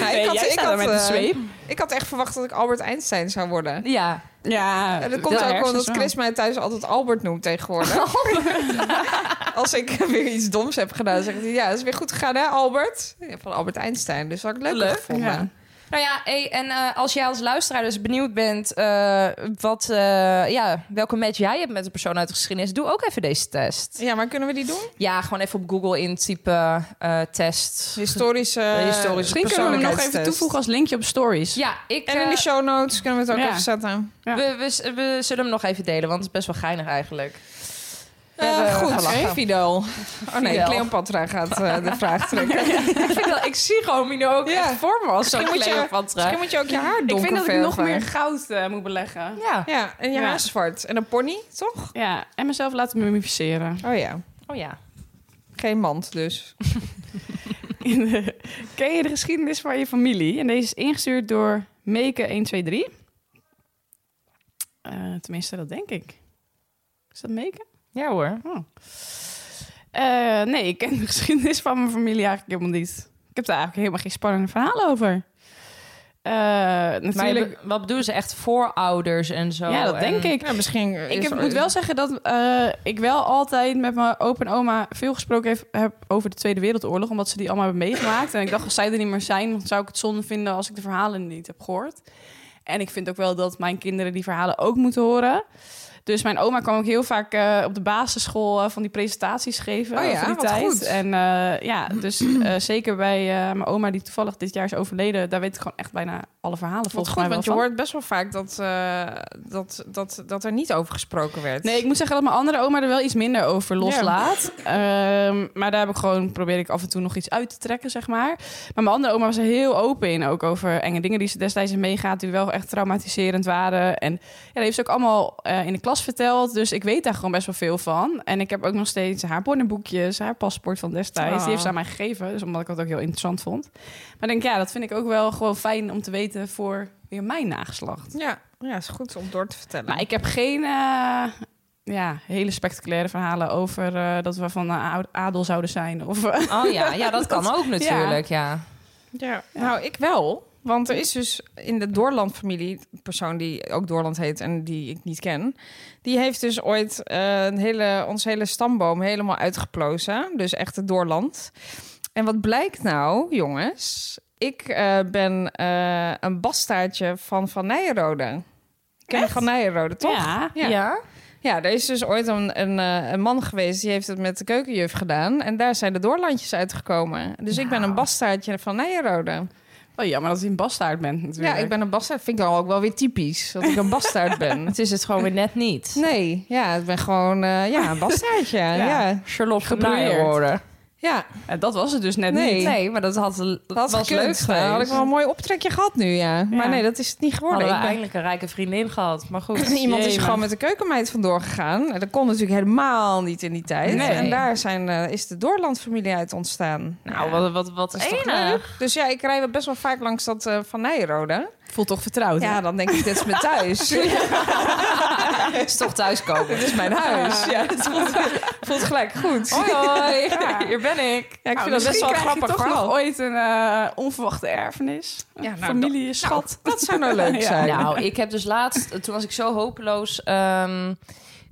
Speaker 4: Nee, jij staat daar met een
Speaker 6: eh,
Speaker 4: zweep.
Speaker 6: ik had echt verwacht dat ik Albert Einstein zou worden.
Speaker 5: Ja.
Speaker 4: Ja.
Speaker 6: En dat komt ook omdat Chris mij thuis altijd Albert noemt tegenwoordig. Als ik weer iets doms heb gedaan, zegt hij... Ja, dat is weer goed gegaan, hè, Albert? Ja, van Albert Einstein. Dus dat had ik leuk,
Speaker 5: Leuk,
Speaker 6: gevonden.
Speaker 4: ja.
Speaker 5: Nou ja, hey, en eh, als jij als luisteraar dus benieuwd bent... eh, wat, eh, ja, welke match jij hebt met een persoon uit de geschiedenis... doe ook even deze test.
Speaker 6: Ja, maar kunnen we die doen?
Speaker 5: Ja, gewoon even op Google intypen, eh, test.
Speaker 6: Historische,
Speaker 5: historische
Speaker 4: Misschien kunnen we hem nog even
Speaker 6: persoonlijkheidstest.
Speaker 4: toevoegen als linkje op stories.
Speaker 5: Ja, ik...
Speaker 6: En in
Speaker 5: eh,
Speaker 6: de show notes kunnen we het ook
Speaker 4: Ja.
Speaker 6: even zetten.
Speaker 4: Ja.
Speaker 5: We, we, we zullen hem nog even delen, want het is best wel geinig eigenlijk. We
Speaker 6: Eh,
Speaker 5: hebben
Speaker 6: goed,
Speaker 5: gelachen.
Speaker 6: Fidel. Oh nee,
Speaker 5: Fidel.
Speaker 6: Cleopatra gaat eh, de vraag trekken.
Speaker 5: ik, vind wel- ik zie gewoon Mino ook
Speaker 6: Ja.
Speaker 5: echt voor me als zo'n
Speaker 6: Misschien moet je-
Speaker 5: Cleopatra.
Speaker 6: Misschien moet je ook je haar
Speaker 4: Ik
Speaker 6: donker
Speaker 4: vind dat ik nog
Speaker 6: verven.
Speaker 4: meer goud eh, moet beleggen.
Speaker 5: Ja.
Speaker 6: Ja, en je
Speaker 4: Ja.
Speaker 6: haar zwart. En een pony, toch?
Speaker 4: Ja, en mezelf laten mummificeren.
Speaker 6: Oh ja,
Speaker 5: Oh ja.
Speaker 6: geen mand dus.
Speaker 4: Ken je de geschiedenis van je familie? En deze is ingestuurd door Meke123. Eh, tenminste, dat denk ik. Is dat Meke?
Speaker 5: Ja hoor.
Speaker 4: Eh, nee, ik ken de geschiedenis van mijn familie eigenlijk helemaal niet. Ik heb daar eigenlijk helemaal geen spannende verhalen over. Eh,
Speaker 5: Maar
Speaker 4: natuurlijk.
Speaker 5: je be- wat bedoelen ze echt voorouders en zo?
Speaker 4: ja, dat
Speaker 5: En-
Speaker 4: denk ik.
Speaker 6: Ja, misschien.
Speaker 4: Ik
Speaker 6: is
Speaker 4: heb,
Speaker 6: er-
Speaker 4: moet wel zeggen dat eh, ik wel altijd met mijn opa en oma veel gesproken heb, heb over de Tweede Wereldoorlog. Omdat ze die allemaal hebben meegemaakt. En ik dacht, als zij er niet meer zijn, dan zou ik het zonde vinden als ik de verhalen niet heb gehoord. En ik vind ook wel dat mijn kinderen die verhalen ook moeten horen. Dus mijn oma kwam ook heel vaak eh, op de basisschool eh, van die presentaties geven.
Speaker 6: Oh ja,
Speaker 4: over die
Speaker 6: wat
Speaker 4: tijd.
Speaker 6: goed.
Speaker 4: En eh, ja, dus eh, zeker bij eh, mijn oma, die toevallig dit jaar is overleden, daar weet ik gewoon echt bijna alle verhalen
Speaker 6: Wat
Speaker 4: volgens
Speaker 6: goed,
Speaker 4: mij wel
Speaker 6: want je
Speaker 4: van.
Speaker 6: hoort best wel vaak dat, eh, dat, dat, dat er niet over gesproken werd.
Speaker 4: Nee, ik moet zeggen dat mijn andere oma er wel iets minder over loslaat. Ehm, maar daar heb ik gewoon, probeer ik af en toe nog iets uit te trekken, zeg maar. Maar mijn andere oma was er heel open in, ook over enge dingen die ze destijds in meegaat, die wel echt traumatiserend waren. En ja, dat heeft ze ook allemaal eh, in de klas verteld, dus ik weet daar gewoon best wel veel van. En ik heb ook nog steeds haar bonnenboekjes, haar paspoort van destijds,
Speaker 6: Oh.
Speaker 4: die heeft ze aan mij gegeven, dus omdat ik dat ook heel interessant vond. Maar ik denk, ja, dat vind ik ook wel gewoon fijn om te weten voor weer mijn nageslacht.
Speaker 6: Ja, ja, is goed om door te vertellen.
Speaker 4: Maar ik heb geen eh, ja, hele spectaculaire verhalen over eh, dat we van eh, oud- adel zouden zijn. Of, eh,
Speaker 5: Oh ja, ja dat kan ook natuurlijk, ja.
Speaker 6: Ja, nou, ik wel. Want er is dus in de Doorland-familie, een persoon die ook Doorland heet en die ik niet ken, die heeft dus ooit eh, een hele, ons hele stamboom helemaal uitgeplozen. Dus echt het Doorland. En wat blijkt nou, jongens? Ik eh, ben eh, een bastaardje van Van Nijenrode. Ik ken Van Nijenrode, toch?
Speaker 4: Ja.
Speaker 6: ja. Ja, er is dus ooit een, een, eh, een man geweest die heeft het met de keukenjuf gedaan. En daar zijn de doorlandjes uitgekomen. Dus ik ben
Speaker 5: Nou.
Speaker 6: een bastaardje van Nijenrode.
Speaker 4: Wel Oh, jammer dat je een bastaard bent natuurlijk.
Speaker 6: Ja, ik ben een bastaard. Vind ik dan ook wel weer typisch dat ik een bastaard ben.
Speaker 5: Het is het gewoon weer net niet.
Speaker 6: Nee, ja, ik ben gewoon eh, ja, een bastaardje. ja. Ja.
Speaker 5: Charlotte van
Speaker 4: Gebroeierd.
Speaker 5: Nijenrode.
Speaker 4: Eh, dat was het dus net
Speaker 6: Nee.
Speaker 4: niet.
Speaker 5: Nee, maar dat had dat
Speaker 6: dat
Speaker 5: was
Speaker 6: was leuk.
Speaker 5: leuk
Speaker 6: Dan had ik
Speaker 5: geweest.
Speaker 6: wel een mooi optrekje gehad nu, ja. Maar
Speaker 4: Ja.
Speaker 6: nee, dat is het niet geworden.
Speaker 5: Hadden we
Speaker 6: Ik ben-
Speaker 5: eigenlijk een rijke vriendin gehad, maar goed.
Speaker 6: Iemand is
Speaker 4: Jemig.
Speaker 6: gewoon met de keukenmeid vandoor gegaan. En dat kon natuurlijk helemaal niet in die tijd.
Speaker 5: Nee.
Speaker 6: En daar zijn, eh, is de Doorlandfamilie uit ontstaan.
Speaker 5: Nou, wat, wat, wat
Speaker 6: Dat is toch
Speaker 5: enig.
Speaker 6: leuk? Dus ja, ik rij wel best wel vaak langs dat eh, Van Nijrode.
Speaker 4: Voelt toch
Speaker 5: Oh,
Speaker 4: vertrouwd? hè?
Speaker 6: Ja, dan denk ik, dit is mijn thuis.
Speaker 5: is toch thuiskomen.
Speaker 6: dit is mijn huis. Dus Ja, het voelt, voelt gelijk goed.
Speaker 5: Hoi, hoi. Hier ben ik.
Speaker 6: Ja, ik
Speaker 4: Nou,
Speaker 6: vind dat best wel
Speaker 4: misschien
Speaker 6: een
Speaker 4: krijg je
Speaker 6: grappig
Speaker 4: toch nog
Speaker 6: verhaal.
Speaker 4: ooit een eh, onverwachte erfenis.
Speaker 6: Ja, nou,
Speaker 4: Familie is schat.
Speaker 6: Dat zou nou leuk
Speaker 4: Ja.
Speaker 6: zijn.
Speaker 5: Nou, ik heb dus laatst, toen was ik zo hopeloos ehm,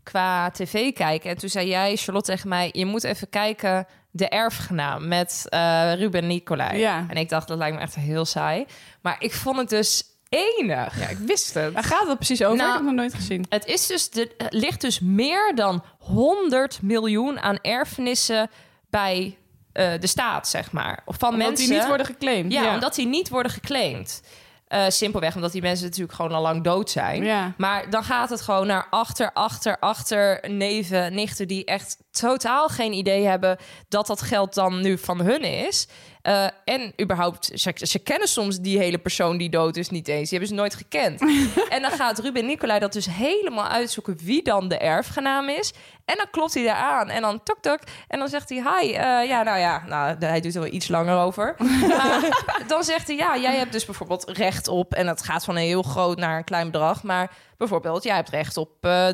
Speaker 5: qua tv kijken. En toen zei jij, Charlotte, tegen mij: Je moet even kijken, de erfgenaam met eh, Ruben Nicolai.
Speaker 4: Ja.
Speaker 5: En ik dacht, dat lijkt me echt heel saai. Maar ik vond het dus enig.
Speaker 6: Ja, ik wist het.
Speaker 4: Waar gaat dat precies over?
Speaker 5: Nou,
Speaker 4: ik heb het nog nooit gezien.
Speaker 5: Het is dus de, het ligt dus meer dan 100 miljoen aan erfenissen bij eh, de staat, zeg maar. Of Van
Speaker 4: Omdat
Speaker 5: mensen
Speaker 4: die niet worden geclaimd.
Speaker 5: Ja, omdat die niet worden geclaimd. Eh, simpelweg omdat die mensen natuurlijk gewoon al lang dood zijn.
Speaker 4: Ja.
Speaker 5: Maar dan gaat het gewoon naar achter, achter, achter neven, nichten... die echt totaal geen idee hebben dat dat geld dan nu van hun is. Eh, en überhaupt, ze, ze kennen soms die hele persoon die dood is niet eens. Die hebben ze nooit gekend. en dan gaat Ruben Nicolai dat dus helemaal uitzoeken wie dan de erfgenaam is. En dan klopt hij daar aan en dan tok tok. En dan zegt hij, hi, eh, ja, nou ja, nou, hij doet er wel iets langer over. Maar dan zegt hij, ja, jij hebt dus bijvoorbeeld recht op... en dat gaat van een heel groot naar een klein bedrag... maar bijvoorbeeld, jij hebt recht op eh,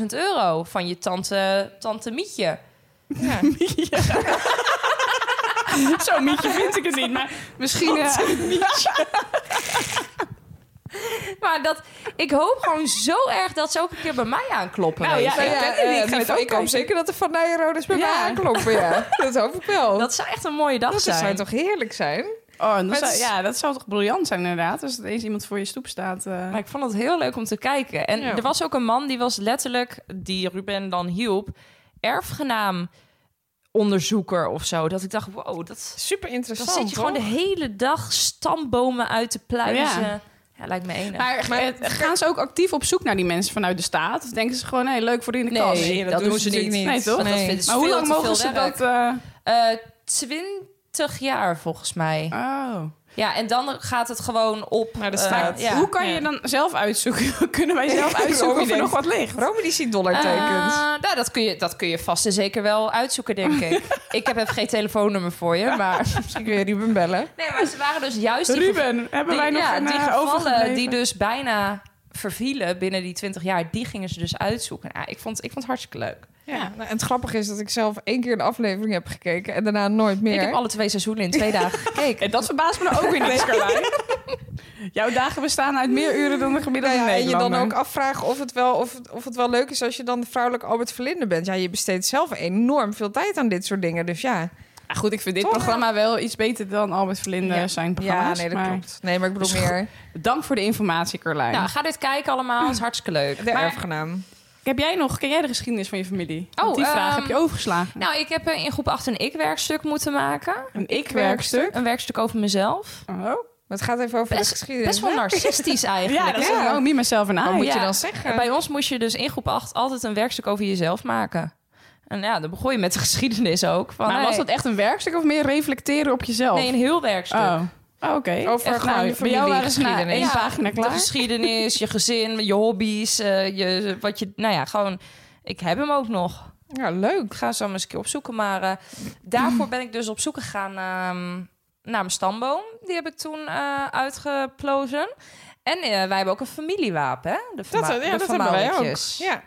Speaker 5: 30.000 euro... van je tante, tante Mietje.
Speaker 6: Ja.
Speaker 4: Zo mietje vind ik het niet. Maar misschien... eh,
Speaker 5: Maar dat, ik hoop gewoon zo erg dat ze ook een keer bij mij aankloppen.
Speaker 4: Nou ja,
Speaker 5: weet je.
Speaker 4: ik ken het niet. Ik ga
Speaker 6: eh,
Speaker 4: het
Speaker 6: nou,
Speaker 4: ook
Speaker 6: ik hoop
Speaker 4: kijken.
Speaker 6: zeker dat de Van Nijenrodes bij
Speaker 4: Ja.
Speaker 6: mij aankloppen. Ja. Dat hoop ik wel.
Speaker 5: Dat zou echt een mooie dag
Speaker 6: dat
Speaker 5: zijn.
Speaker 6: zou toch heerlijk zijn?
Speaker 4: Oh, en
Speaker 6: Maar
Speaker 4: dat
Speaker 6: het
Speaker 4: zou,
Speaker 6: is-
Speaker 4: ja, dat zou toch briljant zijn inderdaad. Als er eens iemand voor je stoep staat. eh.
Speaker 5: Maar ik vond het heel leuk om te kijken. En
Speaker 6: Ja.
Speaker 5: er was ook een man die was letterlijk, die Ruben dan hielp, erfgenaam onderzoeker of zo. Dat ik dacht, wow, dat,
Speaker 6: Super
Speaker 5: dan
Speaker 6: interessant.
Speaker 5: zit je gewoon de
Speaker 6: hoor.
Speaker 5: hele dag stambomen uit te pluizen. Ja, lijkt me enig.
Speaker 4: Maar, eh, gaan ze ook actief op zoek naar die mensen vanuit de staat? Of denken ze gewoon, hé, leuk voor die in de
Speaker 5: Nee,
Speaker 4: klas?
Speaker 5: dat doen ze
Speaker 4: natuurlijk
Speaker 5: niet.
Speaker 4: Nee, toch?
Speaker 5: Want dat
Speaker 6: Nee.
Speaker 5: vinden ze
Speaker 4: maar hoe
Speaker 5: veel
Speaker 4: lang
Speaker 5: te
Speaker 4: mogen
Speaker 5: veel
Speaker 4: ze
Speaker 5: werk.
Speaker 4: dat... eh,
Speaker 5: Eh, 20 jaar volgens mij.
Speaker 4: Oh.
Speaker 5: Ja, en dan gaat het gewoon op.
Speaker 6: Naar de
Speaker 5: eh,
Speaker 6: staat.
Speaker 5: ja.
Speaker 4: Hoe kan je dan zelf uitzoeken? Kunnen wij zelf uitzoeken of er
Speaker 6: Robin
Speaker 4: nog wat ligt?
Speaker 6: Rome die ziet dollartekens.
Speaker 5: Eh, nou, dat kun, je, dat kun je vast en zeker wel uitzoeken, denk ik. ik heb even geen telefoonnummer voor je, maar...
Speaker 6: Misschien kun je Ruben bellen.
Speaker 5: Nee, maar ze waren dus juist... die gev-
Speaker 4: Ruben, hebben
Speaker 5: die-
Speaker 4: wij nog
Speaker 5: ja,
Speaker 4: een
Speaker 5: die
Speaker 4: eh,
Speaker 5: gevallen
Speaker 4: overgebleven?
Speaker 5: die dus bijna vervielen binnen die 20 jaar, die gingen ze dus uitzoeken. Nou, ik, vond, ik vond het hartstikke leuk.
Speaker 6: Ja. Nou, en het grappige is dat ik zelf één keer een aflevering heb gekeken en daarna nooit meer.
Speaker 7: Ik heb alle twee seizoenen in twee dagen gekeken.
Speaker 4: En dat verbaast me nou ook weer niet, Carlijn. Jouw dagen bestaan uit meer uren dan de
Speaker 6: Nou
Speaker 4: gemiddelde
Speaker 6: ja, en je
Speaker 4: Nederlander.
Speaker 6: dan ook afvragen of het, wel, of, het- of het wel leuk is als je dan de vrouwelijke Albert Verlinde bent. Ja, je besteedt zelf enorm veel tijd aan dit soort dingen. Dus ja,
Speaker 4: Ja, goed, ik vind dit
Speaker 6: Toch?
Speaker 4: programma wel iets beter dan Albert Verlinde
Speaker 6: Ja.
Speaker 4: zijn
Speaker 6: ja
Speaker 4: programma's.
Speaker 6: nee, dat
Speaker 4: maar
Speaker 6: klopt. Nee, maar ik bedoel
Speaker 4: Dus goed.
Speaker 6: meer
Speaker 4: Dank voor de informatie, Carlijn.
Speaker 5: Nou, ga dit kijken allemaal. Het is hartstikke leuk.
Speaker 6: de
Speaker 5: Maar-
Speaker 6: erfgenaam.
Speaker 4: Heb jij nog, ken jij de geschiedenis van je familie?
Speaker 5: Oh,
Speaker 4: Want die vraag
Speaker 5: ehm,
Speaker 4: heb je overgeslagen.
Speaker 5: nou, ik heb eh, in groep 8 een ik-werkstuk moeten maken.
Speaker 4: een ik-werkstuk.
Speaker 5: Een werkstuk over mezelf.
Speaker 4: Oh,
Speaker 6: Maar het gaat even over de
Speaker 5: Best,
Speaker 6: geschiedenis.
Speaker 5: best wel
Speaker 6: hè?
Speaker 5: narcistisch eigenlijk.
Speaker 4: ja, dat is
Speaker 6: ja.
Speaker 4: nou niet mezelf en
Speaker 6: Wat
Speaker 4: aan.
Speaker 6: moet je
Speaker 5: ja.
Speaker 6: dan zeggen?
Speaker 5: Bij ons moest je dus in groep 8 altijd een werkstuk over jezelf maken. En ja, dan begon je met de geschiedenis ook. Van,
Speaker 4: Maar
Speaker 5: hey,
Speaker 4: was dat echt een werkstuk of meer reflecteren op jezelf?
Speaker 5: Nee, een heel werkstuk.
Speaker 4: oh, Oh, oké.
Speaker 6: Over
Speaker 4: Echt,
Speaker 6: gewoon
Speaker 4: nou,
Speaker 6: je
Speaker 4: bij jou waren ze na
Speaker 6: familiegeschiedenis.
Speaker 4: één
Speaker 5: Ja,
Speaker 4: pagina
Speaker 5: De
Speaker 4: klaar.
Speaker 5: geschiedenis, je gezin, je hobby's, eh, je, wat je... Nou ja, gewoon... Ik heb hem ook nog.
Speaker 6: Ja, leuk.
Speaker 5: Ik ga zo maar eens een keer opzoeken. Maar eh, daarvoor ben ik dus op zoek gegaan ehm, naar mijn stamboom. Die heb ik toen eh, uitgeplozen. En eh, wij hebben ook een familiewapen, hè? De
Speaker 6: Dat,
Speaker 5: verma-
Speaker 6: ja,
Speaker 5: de
Speaker 6: dat hebben wij ook.
Speaker 5: vermouwtjes.
Speaker 6: Ja.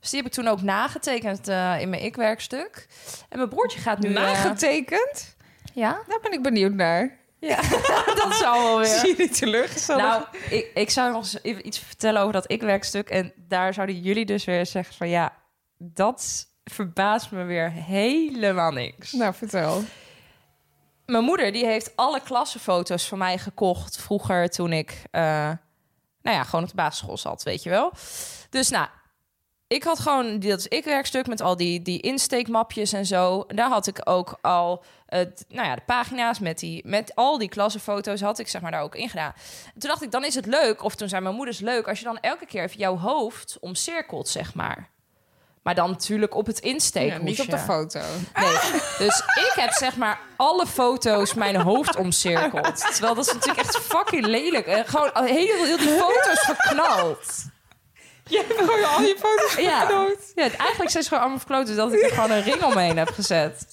Speaker 5: Dus die heb ik toen ook nagetekend eh, in mijn ik-werkstuk. En mijn broertje gaat nu... eh,
Speaker 6: Nagetekend?
Speaker 5: ja?
Speaker 6: Daar ben ik benieuwd naar.
Speaker 5: Dat zou wel weer...
Speaker 6: Zie je niet teleurgesteld?
Speaker 5: Oh, Nou, ik, ik zou nog eens even iets vertellen over dat ik-werkstuk. En daar zouden jullie dus weer zeggen van... Ja, dat verbaast me weer helemaal niks.
Speaker 6: Nou, vertel.
Speaker 5: Mijn moeder die heeft alle klassenfoto's van mij gekocht vroeger toen ik... eh, nou ja, gewoon op de basisschool zat, weet je wel. Dus nou, ik had gewoon die- dat is ik werkstuk met al die, die insteekmapjes en zo. Daar had ik ook al het, nou ja, de pagina's met, die, met al die klassenfoto's had ik zeg maar daar ook in gedaan. En toen dacht ik, dan is het leuk, of toen zei mijn moeder is leuk, als je dan elke keer even jouw hoofd omcirkelt, zeg maar. Maar dan natuurlijk op het
Speaker 6: Ja,
Speaker 5: insteekhoesje.
Speaker 6: niet op de foto.
Speaker 5: Nee. Dus ik heb zeg maar alle foto's mijn hoofd omcirkeld. Terwijl dat is natuurlijk echt fucking lelijk. En gewoon al- heel, heel die foto's verknald.
Speaker 6: Je hebt gewoon al je foto's
Speaker 5: Ja. ja, het- eigenlijk zijn ze gewoon allemaal verkloot. Dus dat ik er gewoon een ring omheen heb gezet.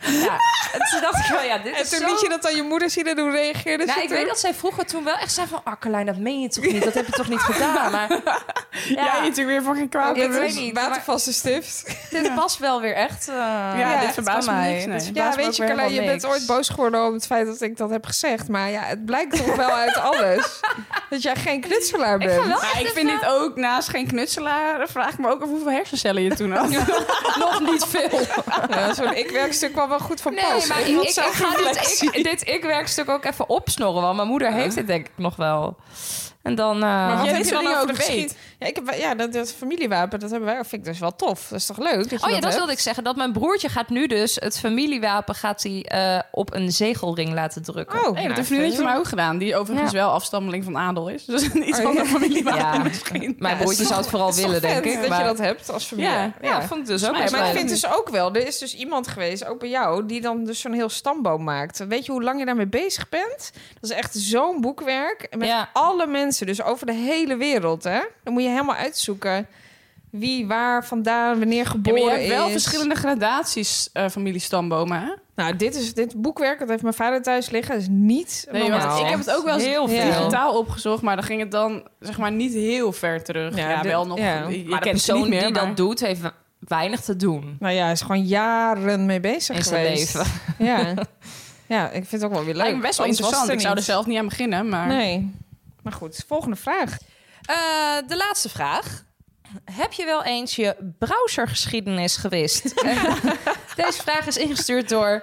Speaker 5: Ja. En toen dacht ik wel, ja, dit
Speaker 6: En
Speaker 5: is
Speaker 6: toen
Speaker 5: zo...
Speaker 6: liet je dat aan je moeder zien en hoe reageerde ze
Speaker 5: nou, ik
Speaker 6: toen?
Speaker 5: weet dat zij vroeger toen wel echt zei van... Akkerlijn, dat meen je toch niet? Dat heb je toch niet gedaan? Maar
Speaker 4: Ja,
Speaker 5: ja,
Speaker 4: natuurlijk weer fucking kwaad.
Speaker 5: Ik
Speaker 4: Ja,
Speaker 5: weet
Speaker 6: Dus
Speaker 5: niet,
Speaker 6: Watervaste stift.
Speaker 5: dit was wel weer echt... eh,
Speaker 4: ja, dit
Speaker 6: het
Speaker 4: verbaast
Speaker 5: kan
Speaker 4: me
Speaker 5: mij.
Speaker 4: niks. nee.
Speaker 5: Het
Speaker 6: Ja,
Speaker 5: verbaast me
Speaker 6: weet
Speaker 5: ook
Speaker 6: je,
Speaker 5: weer
Speaker 6: Carlijn, je
Speaker 5: helemaal
Speaker 6: bent
Speaker 5: niks.
Speaker 6: ooit boos geworden om het feit dat ik dat heb gezegd. Maar ja, het blijkt toch wel uit alles dat jij geen knutselaar
Speaker 5: Ik ga
Speaker 6: bent.
Speaker 5: wel
Speaker 4: Maar
Speaker 5: echt
Speaker 4: ik
Speaker 5: even-
Speaker 4: vind dit ook naast geen knutselaar. Vraag ik me ook af hoeveel hersencellen je toen had.
Speaker 5: nog niet veel.
Speaker 6: Ja, Zo'n ik-werkstuk kwam wel goed van
Speaker 5: Nee,
Speaker 6: pas.
Speaker 5: maar ik,
Speaker 6: Iemand
Speaker 5: ik-
Speaker 6: zou
Speaker 5: ik ga dit, ik, dit ik-werkstuk ook even opsnorren. Want mijn moeder heeft het denk ik nog wel. En dan... eh,
Speaker 6: Maar wat
Speaker 4: Jij
Speaker 6: heb
Speaker 4: dit
Speaker 6: je dan
Speaker 4: soort dingen
Speaker 6: over de
Speaker 4: ook
Speaker 6: geschied?
Speaker 4: weet.
Speaker 6: Ja, ik heb, ja dat, dat familiewapen, dat hebben wij, vind ik dus wel tof. Dat is toch leuk? Dat je
Speaker 5: Oh ja,
Speaker 6: dat
Speaker 5: dat
Speaker 6: hebt?
Speaker 5: wilde ik zeggen. Dat mijn broertje gaat nu dus het familiewapen gaat hij, eh, op een zegelring laten drukken.
Speaker 6: Oh,
Speaker 4: Hey, dat
Speaker 6: nou,
Speaker 4: heeft een vriendin van mij ook gedaan. Die overigens
Speaker 5: Ja.
Speaker 4: wel afstammeling van adel is. Dus een iets
Speaker 6: Oh, ja.
Speaker 4: andere familie
Speaker 5: Ja.
Speaker 4: waren misschien.
Speaker 5: Mijn
Speaker 4: Ja,
Speaker 5: broertje zou het vooral
Speaker 6: dat is toch
Speaker 5: willen,
Speaker 6: vet
Speaker 5: denk ik.
Speaker 6: dat
Speaker 5: maar...
Speaker 6: je dat hebt als familie.
Speaker 4: Ja,
Speaker 5: ja, vond ik dus ook
Speaker 4: Maar
Speaker 5: best
Speaker 4: ik
Speaker 6: Maar ik
Speaker 5: leuk.
Speaker 6: vind dus ook wel, er is dus iemand geweest, ook bij jou, die dan dus zo'n heel stamboom maakt. Weet je hoe lang je daarmee bezig bent? Dat is echt zo'n boekwerk. En Met
Speaker 5: Ja.
Speaker 6: alle mensen, dus over de hele wereld, hè? Dan moet je helemaal uitzoeken wie, waar, vandaan, wanneer
Speaker 4: Ja, maar
Speaker 6: geboren
Speaker 4: je hebt wel
Speaker 6: is.
Speaker 4: verschillende gradaties eh familiestambomen, hè?
Speaker 6: Nou, dit, is, dit boekwerk, dat heeft mijn vader thuis liggen, is niet
Speaker 4: Nee, want
Speaker 6: normaal.
Speaker 4: ik heb het ook wel eens
Speaker 5: Heel veel.
Speaker 4: digitaal opgezocht, maar dan ging het dan zeg maar niet heel ver terug.
Speaker 6: Ja,
Speaker 4: Ja,
Speaker 6: de-
Speaker 4: wel nog.
Speaker 6: ja.
Speaker 4: je- Je
Speaker 5: Maar de
Speaker 4: kent
Speaker 6: dus
Speaker 4: ze niet
Speaker 5: persoon
Speaker 4: meer,
Speaker 5: die
Speaker 4: maar-
Speaker 5: dat doet, heeft we- weinig te doen
Speaker 6: Nou ja, hij is gewoon jaren mee bezig
Speaker 5: in zijn
Speaker 6: geweest.
Speaker 5: leven.
Speaker 6: Ja. ja, ik vind het ook wel weer leuk.
Speaker 4: Lijkt me best wel
Speaker 6: Anders was het
Speaker 4: interessant. Ik zou er
Speaker 6: niet.
Speaker 4: zelf niet aan beginnen, maar...
Speaker 6: Nee. Maar goed, volgende vraag.
Speaker 5: Eh, de laatste vraag. Heb je wel eens je browsergeschiedenis gewist? Deze vraag is ingestuurd door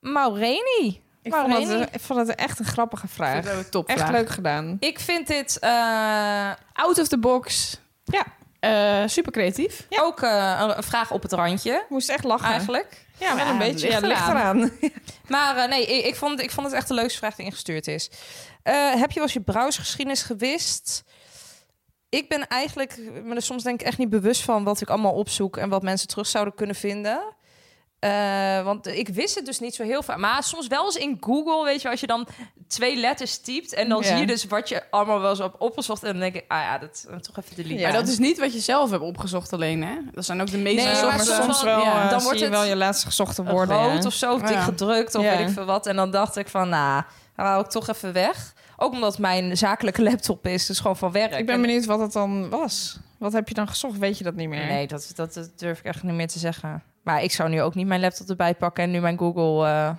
Speaker 5: Maureni.
Speaker 6: Ik
Speaker 5: Waarom
Speaker 6: vond,
Speaker 5: niet?
Speaker 6: dat, ik vond dat echt een grappige
Speaker 4: Ik
Speaker 6: vraag.
Speaker 4: vind het ook top.
Speaker 6: Echt leuk gedaan.
Speaker 5: Ik vind dit eh,
Speaker 4: Out of the box.
Speaker 6: Ja.
Speaker 4: Eh, super creatief.
Speaker 5: ook eh, een- een vraag op het randje,
Speaker 6: Ik moest echt lachen.
Speaker 5: eigenlijk.
Speaker 6: Ja, wel een
Speaker 5: Ja,
Speaker 6: beetje.
Speaker 5: ligt
Speaker 6: ja, ligt
Speaker 5: eraan.
Speaker 6: eraan.
Speaker 5: Maar eh, nee, ik, ik vond, ik vond het echt de leukste vraag die ingestuurd is. Eh, heb je wel eens je browsergeschiedenis gewist? Ik ben eigenlijk, me er soms denk ik echt niet bewust van wat ik allemaal opzoek en wat mensen terug zouden kunnen vinden. Eh, want ik wist het dus niet zo heel vaak. Maar soms wel eens in Google, weet je, als je dan twee letters typt en dan
Speaker 6: Ja.
Speaker 5: zie je dus wat je allemaal wel eens op opgezocht. En dan denk ik, ah ja, dat eh, toch even delete.
Speaker 6: Ja.
Speaker 4: Maar dat is niet wat je zelf hebt opgezocht alleen, hè? Dat zijn ook de meeste
Speaker 5: Nee,
Speaker 4: soorten.
Speaker 5: maar soms wel,
Speaker 4: Ja.
Speaker 5: eh,
Speaker 6: dan
Speaker 5: Dan
Speaker 6: wordt
Speaker 5: wordt
Speaker 6: je
Speaker 5: het
Speaker 6: wel je laatst gezochte woorden.
Speaker 5: rood
Speaker 6: ja.
Speaker 5: of zo, of
Speaker 4: Ja.
Speaker 5: dik gedrukt, of
Speaker 6: Ja.
Speaker 5: weet ik veel wat. En dan dacht ik van, nou, dan hou ik toch even weg. Ook omdat mijn zakelijke laptop is, dus gewoon van werk.
Speaker 6: Ik ben benieuwd wat het dan was. Wat heb je dan gezocht? Weet je dat niet meer?
Speaker 5: Nee, dat, dat, dat durf ik echt niet meer te zeggen. Maar ik zou nu ook niet mijn laptop erbij pakken en nu mijn Google... eh,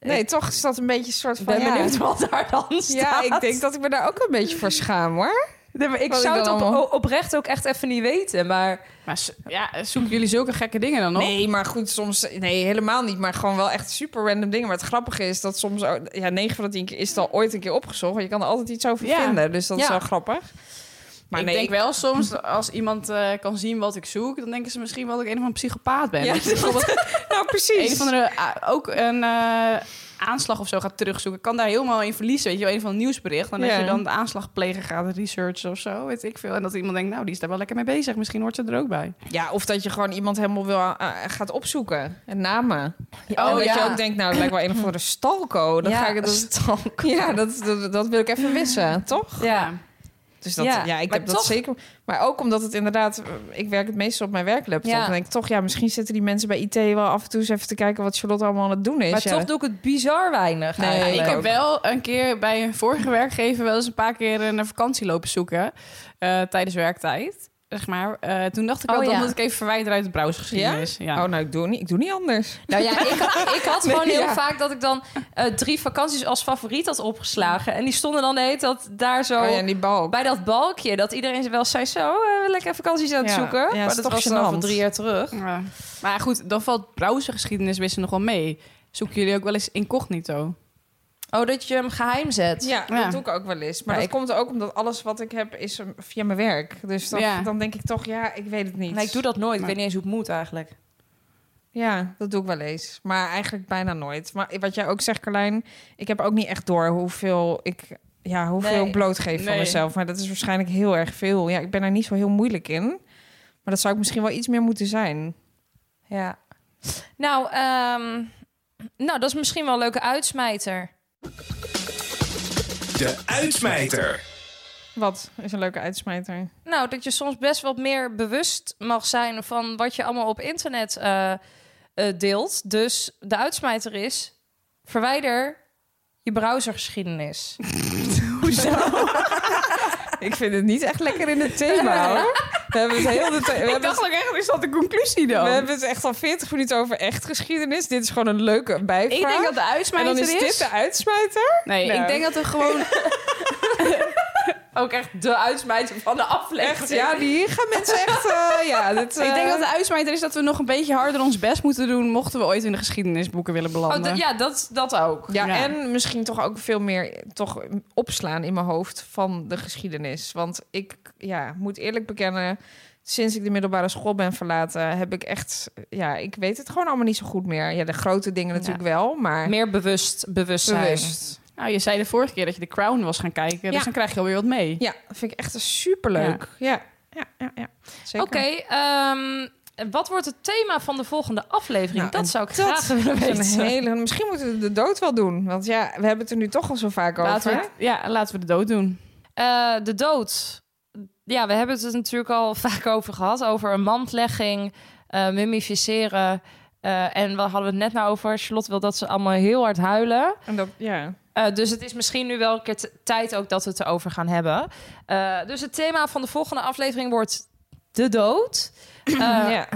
Speaker 6: Nee, toch is dat een beetje een soort
Speaker 5: ik
Speaker 6: van...
Speaker 5: ben
Speaker 6: ja.
Speaker 5: benieuwd wat daar dan staat.
Speaker 6: Ja, ik denk dat ik me daar ook een beetje voor schaam, hoor.
Speaker 5: Nee, maar ik
Speaker 6: Wat ik Oh,
Speaker 5: zou het
Speaker 6: dan
Speaker 5: op,
Speaker 6: allemaal-
Speaker 5: o- oprecht ook echt even niet weten. Maar
Speaker 4: Maar s- ja, zoeken jullie zulke gekke dingen dan op?
Speaker 6: Nee, maar goed, soms... Nee, helemaal niet. Maar gewoon wel echt super random dingen. Maar het grappige is dat soms... ook- Ja, 9 van de 10 keer is het al ooit een keer opgezocht. Want je kan er altijd iets over
Speaker 4: Ja.
Speaker 6: vinden. Dus dat is
Speaker 5: Ja.
Speaker 6: wel grappig. Maar
Speaker 4: ik
Speaker 6: nee,
Speaker 4: denk wel soms, als iemand eh, kan zien wat ik zoek, dan denken ze misschien wel dat ik een of andere psychopaat ben.
Speaker 6: Ja,
Speaker 4: Dat ik bijvoorbeeld
Speaker 6: nou
Speaker 4: een
Speaker 6: precies.
Speaker 4: of andere, ah, ook een eh, aanslag of zo gaat terugzoeken. Ik kan daar helemaal in verliezen, weet je wel, een van een nieuwsbericht. En als
Speaker 6: Ja.
Speaker 4: je dan de aanslagpleger gaat researchen of zo, weet ik veel. En dat iemand denkt, nou, die is daar wel lekker mee bezig. Misschien hoort ze er ook bij.
Speaker 6: Ja, of dat je gewoon iemand helemaal wil, eh, gaat opzoeken. En namen. en dat je ook denkt, nou, het lijkt wel een of andere stalko. Dan
Speaker 5: Oh, Ja,
Speaker 6: ga ik dat, stalko. Ja, dat, dat, dat wil ik even wissen, toch?
Speaker 5: ja,
Speaker 6: Dus dat, ja,
Speaker 5: Ja,
Speaker 6: ik
Speaker 5: maar
Speaker 6: heb dat
Speaker 5: toch-
Speaker 6: zeker. Maar ook omdat het inderdaad, eh, ik werk het meestal op mijn werklaptop.
Speaker 5: Ja.
Speaker 6: En denk ik toch, ja, misschien zitten die mensen bij IT wel af en toe eens even te kijken wat Charlotte allemaal aan het doen is.
Speaker 5: maar
Speaker 6: ja.
Speaker 5: toch doe ik het bizar weinig.
Speaker 6: Nee,
Speaker 5: eigenlijk.
Speaker 4: Ik
Speaker 6: Ja,
Speaker 4: heb
Speaker 6: ook.
Speaker 4: wel een keer bij een vorige werkgever wel eens een paar keer een vakantie lopen zoeken eh, tijdens werktijd. Zeg maar. Eh, toen dacht ik
Speaker 5: Oh,
Speaker 4: wel, dan
Speaker 5: ja.
Speaker 4: moet ik even verwijderen uit de browsergeschiedenis. Ja?
Speaker 6: Oh, nou, ik doe, niet, ik doe niet anders.
Speaker 5: Nou ja, ik, had- ik had gewoon
Speaker 6: Nee,
Speaker 5: heel
Speaker 6: ja.
Speaker 5: vaak dat ik dan eh, drie vakanties als favoriet had opgeslagen. En die stonden dan de hele tijd daar zo
Speaker 6: Oh, ja, en die balk.
Speaker 5: bij dat balkje. Dat iedereen wel zei, zo, eh, lekker vakanties aan het
Speaker 6: Ja.
Speaker 5: zoeken.
Speaker 6: Ja, het is
Speaker 5: maar dat
Speaker 6: toch
Speaker 5: was dan
Speaker 6: gênant.
Speaker 5: van drie jaar terug.
Speaker 4: Ja. Maar goed, dan valt browsergeschiedeniswissen nog wel mee. Zoeken jullie ook wel eens incognito?
Speaker 5: Oh, dat je hem geheim zet.
Speaker 6: Ja,
Speaker 4: Ja.
Speaker 6: dat doe ik ook wel eens. Maar
Speaker 5: Ja,
Speaker 6: dat komt ook omdat alles wat ik heb is eh, via mijn werk. Dus dan,
Speaker 4: Ja.
Speaker 6: dan denk ik toch, ja, ik weet het niet.
Speaker 5: Nee, ik doe dat nooit. Ik
Speaker 4: Maar-
Speaker 5: weet niet eens hoe het moet eigenlijk.
Speaker 6: Ja, dat doe ik wel eens. Maar eigenlijk bijna nooit. Maar wat jij ook zegt, Carlijn, ik heb ook niet echt door hoeveel ik, ja, hoeveel
Speaker 5: Nee.
Speaker 6: ik blootgeef van
Speaker 4: Nee.
Speaker 6: mezelf. Maar dat is waarschijnlijk heel erg veel. Ja, ik ben daar niet zo heel moeilijk in. Maar dat zou ik misschien wel iets meer moeten zijn.
Speaker 5: Ja. Nou, ehm, nou, dat is misschien wel een leuke uitsmijter.
Speaker 3: De uitsmijter.
Speaker 6: Wat is een leuke uitsmijter?
Speaker 5: Nou, dat je soms best wat meer bewust mag zijn van wat je allemaal op internet eh, eh, deelt. Dus de uitsmijter is: verwijder je browsergeschiedenis.
Speaker 6: Ik vind het niet echt lekker in het thema, hoor. We hebben het heel de tijd- we hebben het-
Speaker 4: ook echt, is dat de conclusie
Speaker 6: we hebben het echt al 40 minuten over echt geschiedenis. Dit is gewoon een leuke bijvraag.
Speaker 4: Ik denk dat de
Speaker 6: en
Speaker 4: uitsmijter
Speaker 6: dan is
Speaker 4: is...
Speaker 6: dit de uitsmijter?
Speaker 4: Nee,
Speaker 6: Nou.
Speaker 4: ik denk dat er gewoon...
Speaker 5: Ook echt de uitsmijter van de aflevering.
Speaker 6: Echt, ja, hier gaan mensen echt... eh, ja, dit,
Speaker 4: Ik denk
Speaker 6: eh,
Speaker 4: dat de uitsmijter is dat we nog een beetje harder ons best moeten doen... mochten we ooit in de geschiedenisboeken
Speaker 5: Oh,
Speaker 4: willen belanden.
Speaker 5: d- ja, dat, dat ook.
Speaker 6: Ja,
Speaker 4: Ja.
Speaker 6: en misschien toch ook veel meer toch opslaan in mijn hoofd van de geschiedenis. Want ik ja, moet eerlijk bekennen, sinds ik de middelbare school ben verlaten, heb ik echt, ja, ik weet het gewoon allemaal niet zo goed meer. Ja, de grote dingen natuurlijk wel, maar
Speaker 5: Meer bewust, bewustzijn.
Speaker 6: bewust.
Speaker 4: Nou, je zei de vorige keer dat je de Crown was gaan kijken.
Speaker 6: Ja.
Speaker 4: Dus dan krijg je alweer wat mee.
Speaker 6: Ja, vind ik echt superleuk. Ja, ja, ja, ja. Zeker.
Speaker 5: Oké, ehm, wat wordt het thema van de volgende aflevering?
Speaker 6: Nou, en
Speaker 5: dat zou ik
Speaker 6: dat
Speaker 5: graag willen
Speaker 6: Dat
Speaker 5: weten.
Speaker 6: is een hele, misschien moeten we de dood wel doen. Want ja, we hebben het er nu toch al zo vaak
Speaker 4: Laten we,
Speaker 6: over.
Speaker 4: het- ja, laten we de dood doen.
Speaker 5: Eh, de dood. Ja, we hebben het er natuurlijk al vaak over gehad. Over een mandlegging, eh, mummificeren. Eh, en we hadden het net nou over. Charlotte wil dat ze allemaal heel hard huilen.
Speaker 6: En dat, ja.
Speaker 5: Eh, dus het is misschien nu wel een keer t- tijd ook dat we het erover gaan hebben. Eh, dus het thema van de volgende aflevering wordt de dood. Eh,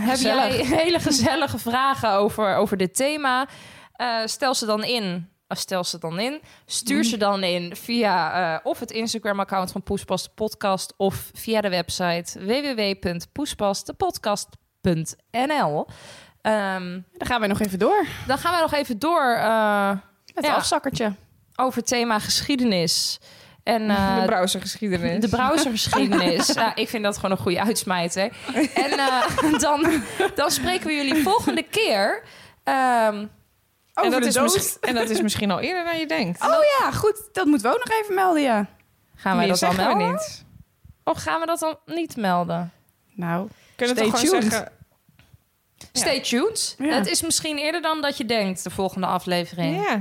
Speaker 5: heb jij hele gezellige vragen over, over dit thema? Eh, stel ze dan in. Ah, Stel ze dan in. Stuur ze dan in via eh, of het Instagram-account van Poespas de Podcast of via de website www.poespasdepodcast.nl. Ehm,
Speaker 4: Dan gaan wij nog even door
Speaker 5: dan gaan we nog even door. eh,
Speaker 4: met
Speaker 5: Ja.
Speaker 4: het afzakkertje.
Speaker 5: over het thema geschiedenis. En eh,
Speaker 6: de browsergeschiedenis.
Speaker 5: de browsergeschiedenis. Ja, ik vind dat gewoon een goede uitsmijter. En eh, dan, dan spreken we jullie volgende keer. Ehm,
Speaker 6: en, dat
Speaker 4: de
Speaker 6: is
Speaker 4: dood.
Speaker 6: misschien- en dat is misschien al eerder dan je denkt.
Speaker 4: Oh ja, goed. Dat moeten we ook nog even melden, ja.
Speaker 5: gaan wij
Speaker 6: Nee,
Speaker 5: dat dan
Speaker 6: zeggen we
Speaker 5: melden?
Speaker 6: niet.
Speaker 5: Of gaan we dat dan niet melden?
Speaker 4: Nou,
Speaker 6: Kunnen we
Speaker 4: Stay
Speaker 6: toch gewoon
Speaker 4: tuned.
Speaker 6: zeggen...
Speaker 5: Stay tuned.
Speaker 4: Ja.
Speaker 5: Het is misschien eerder dan dat je denkt, de volgende aflevering.
Speaker 6: Ja,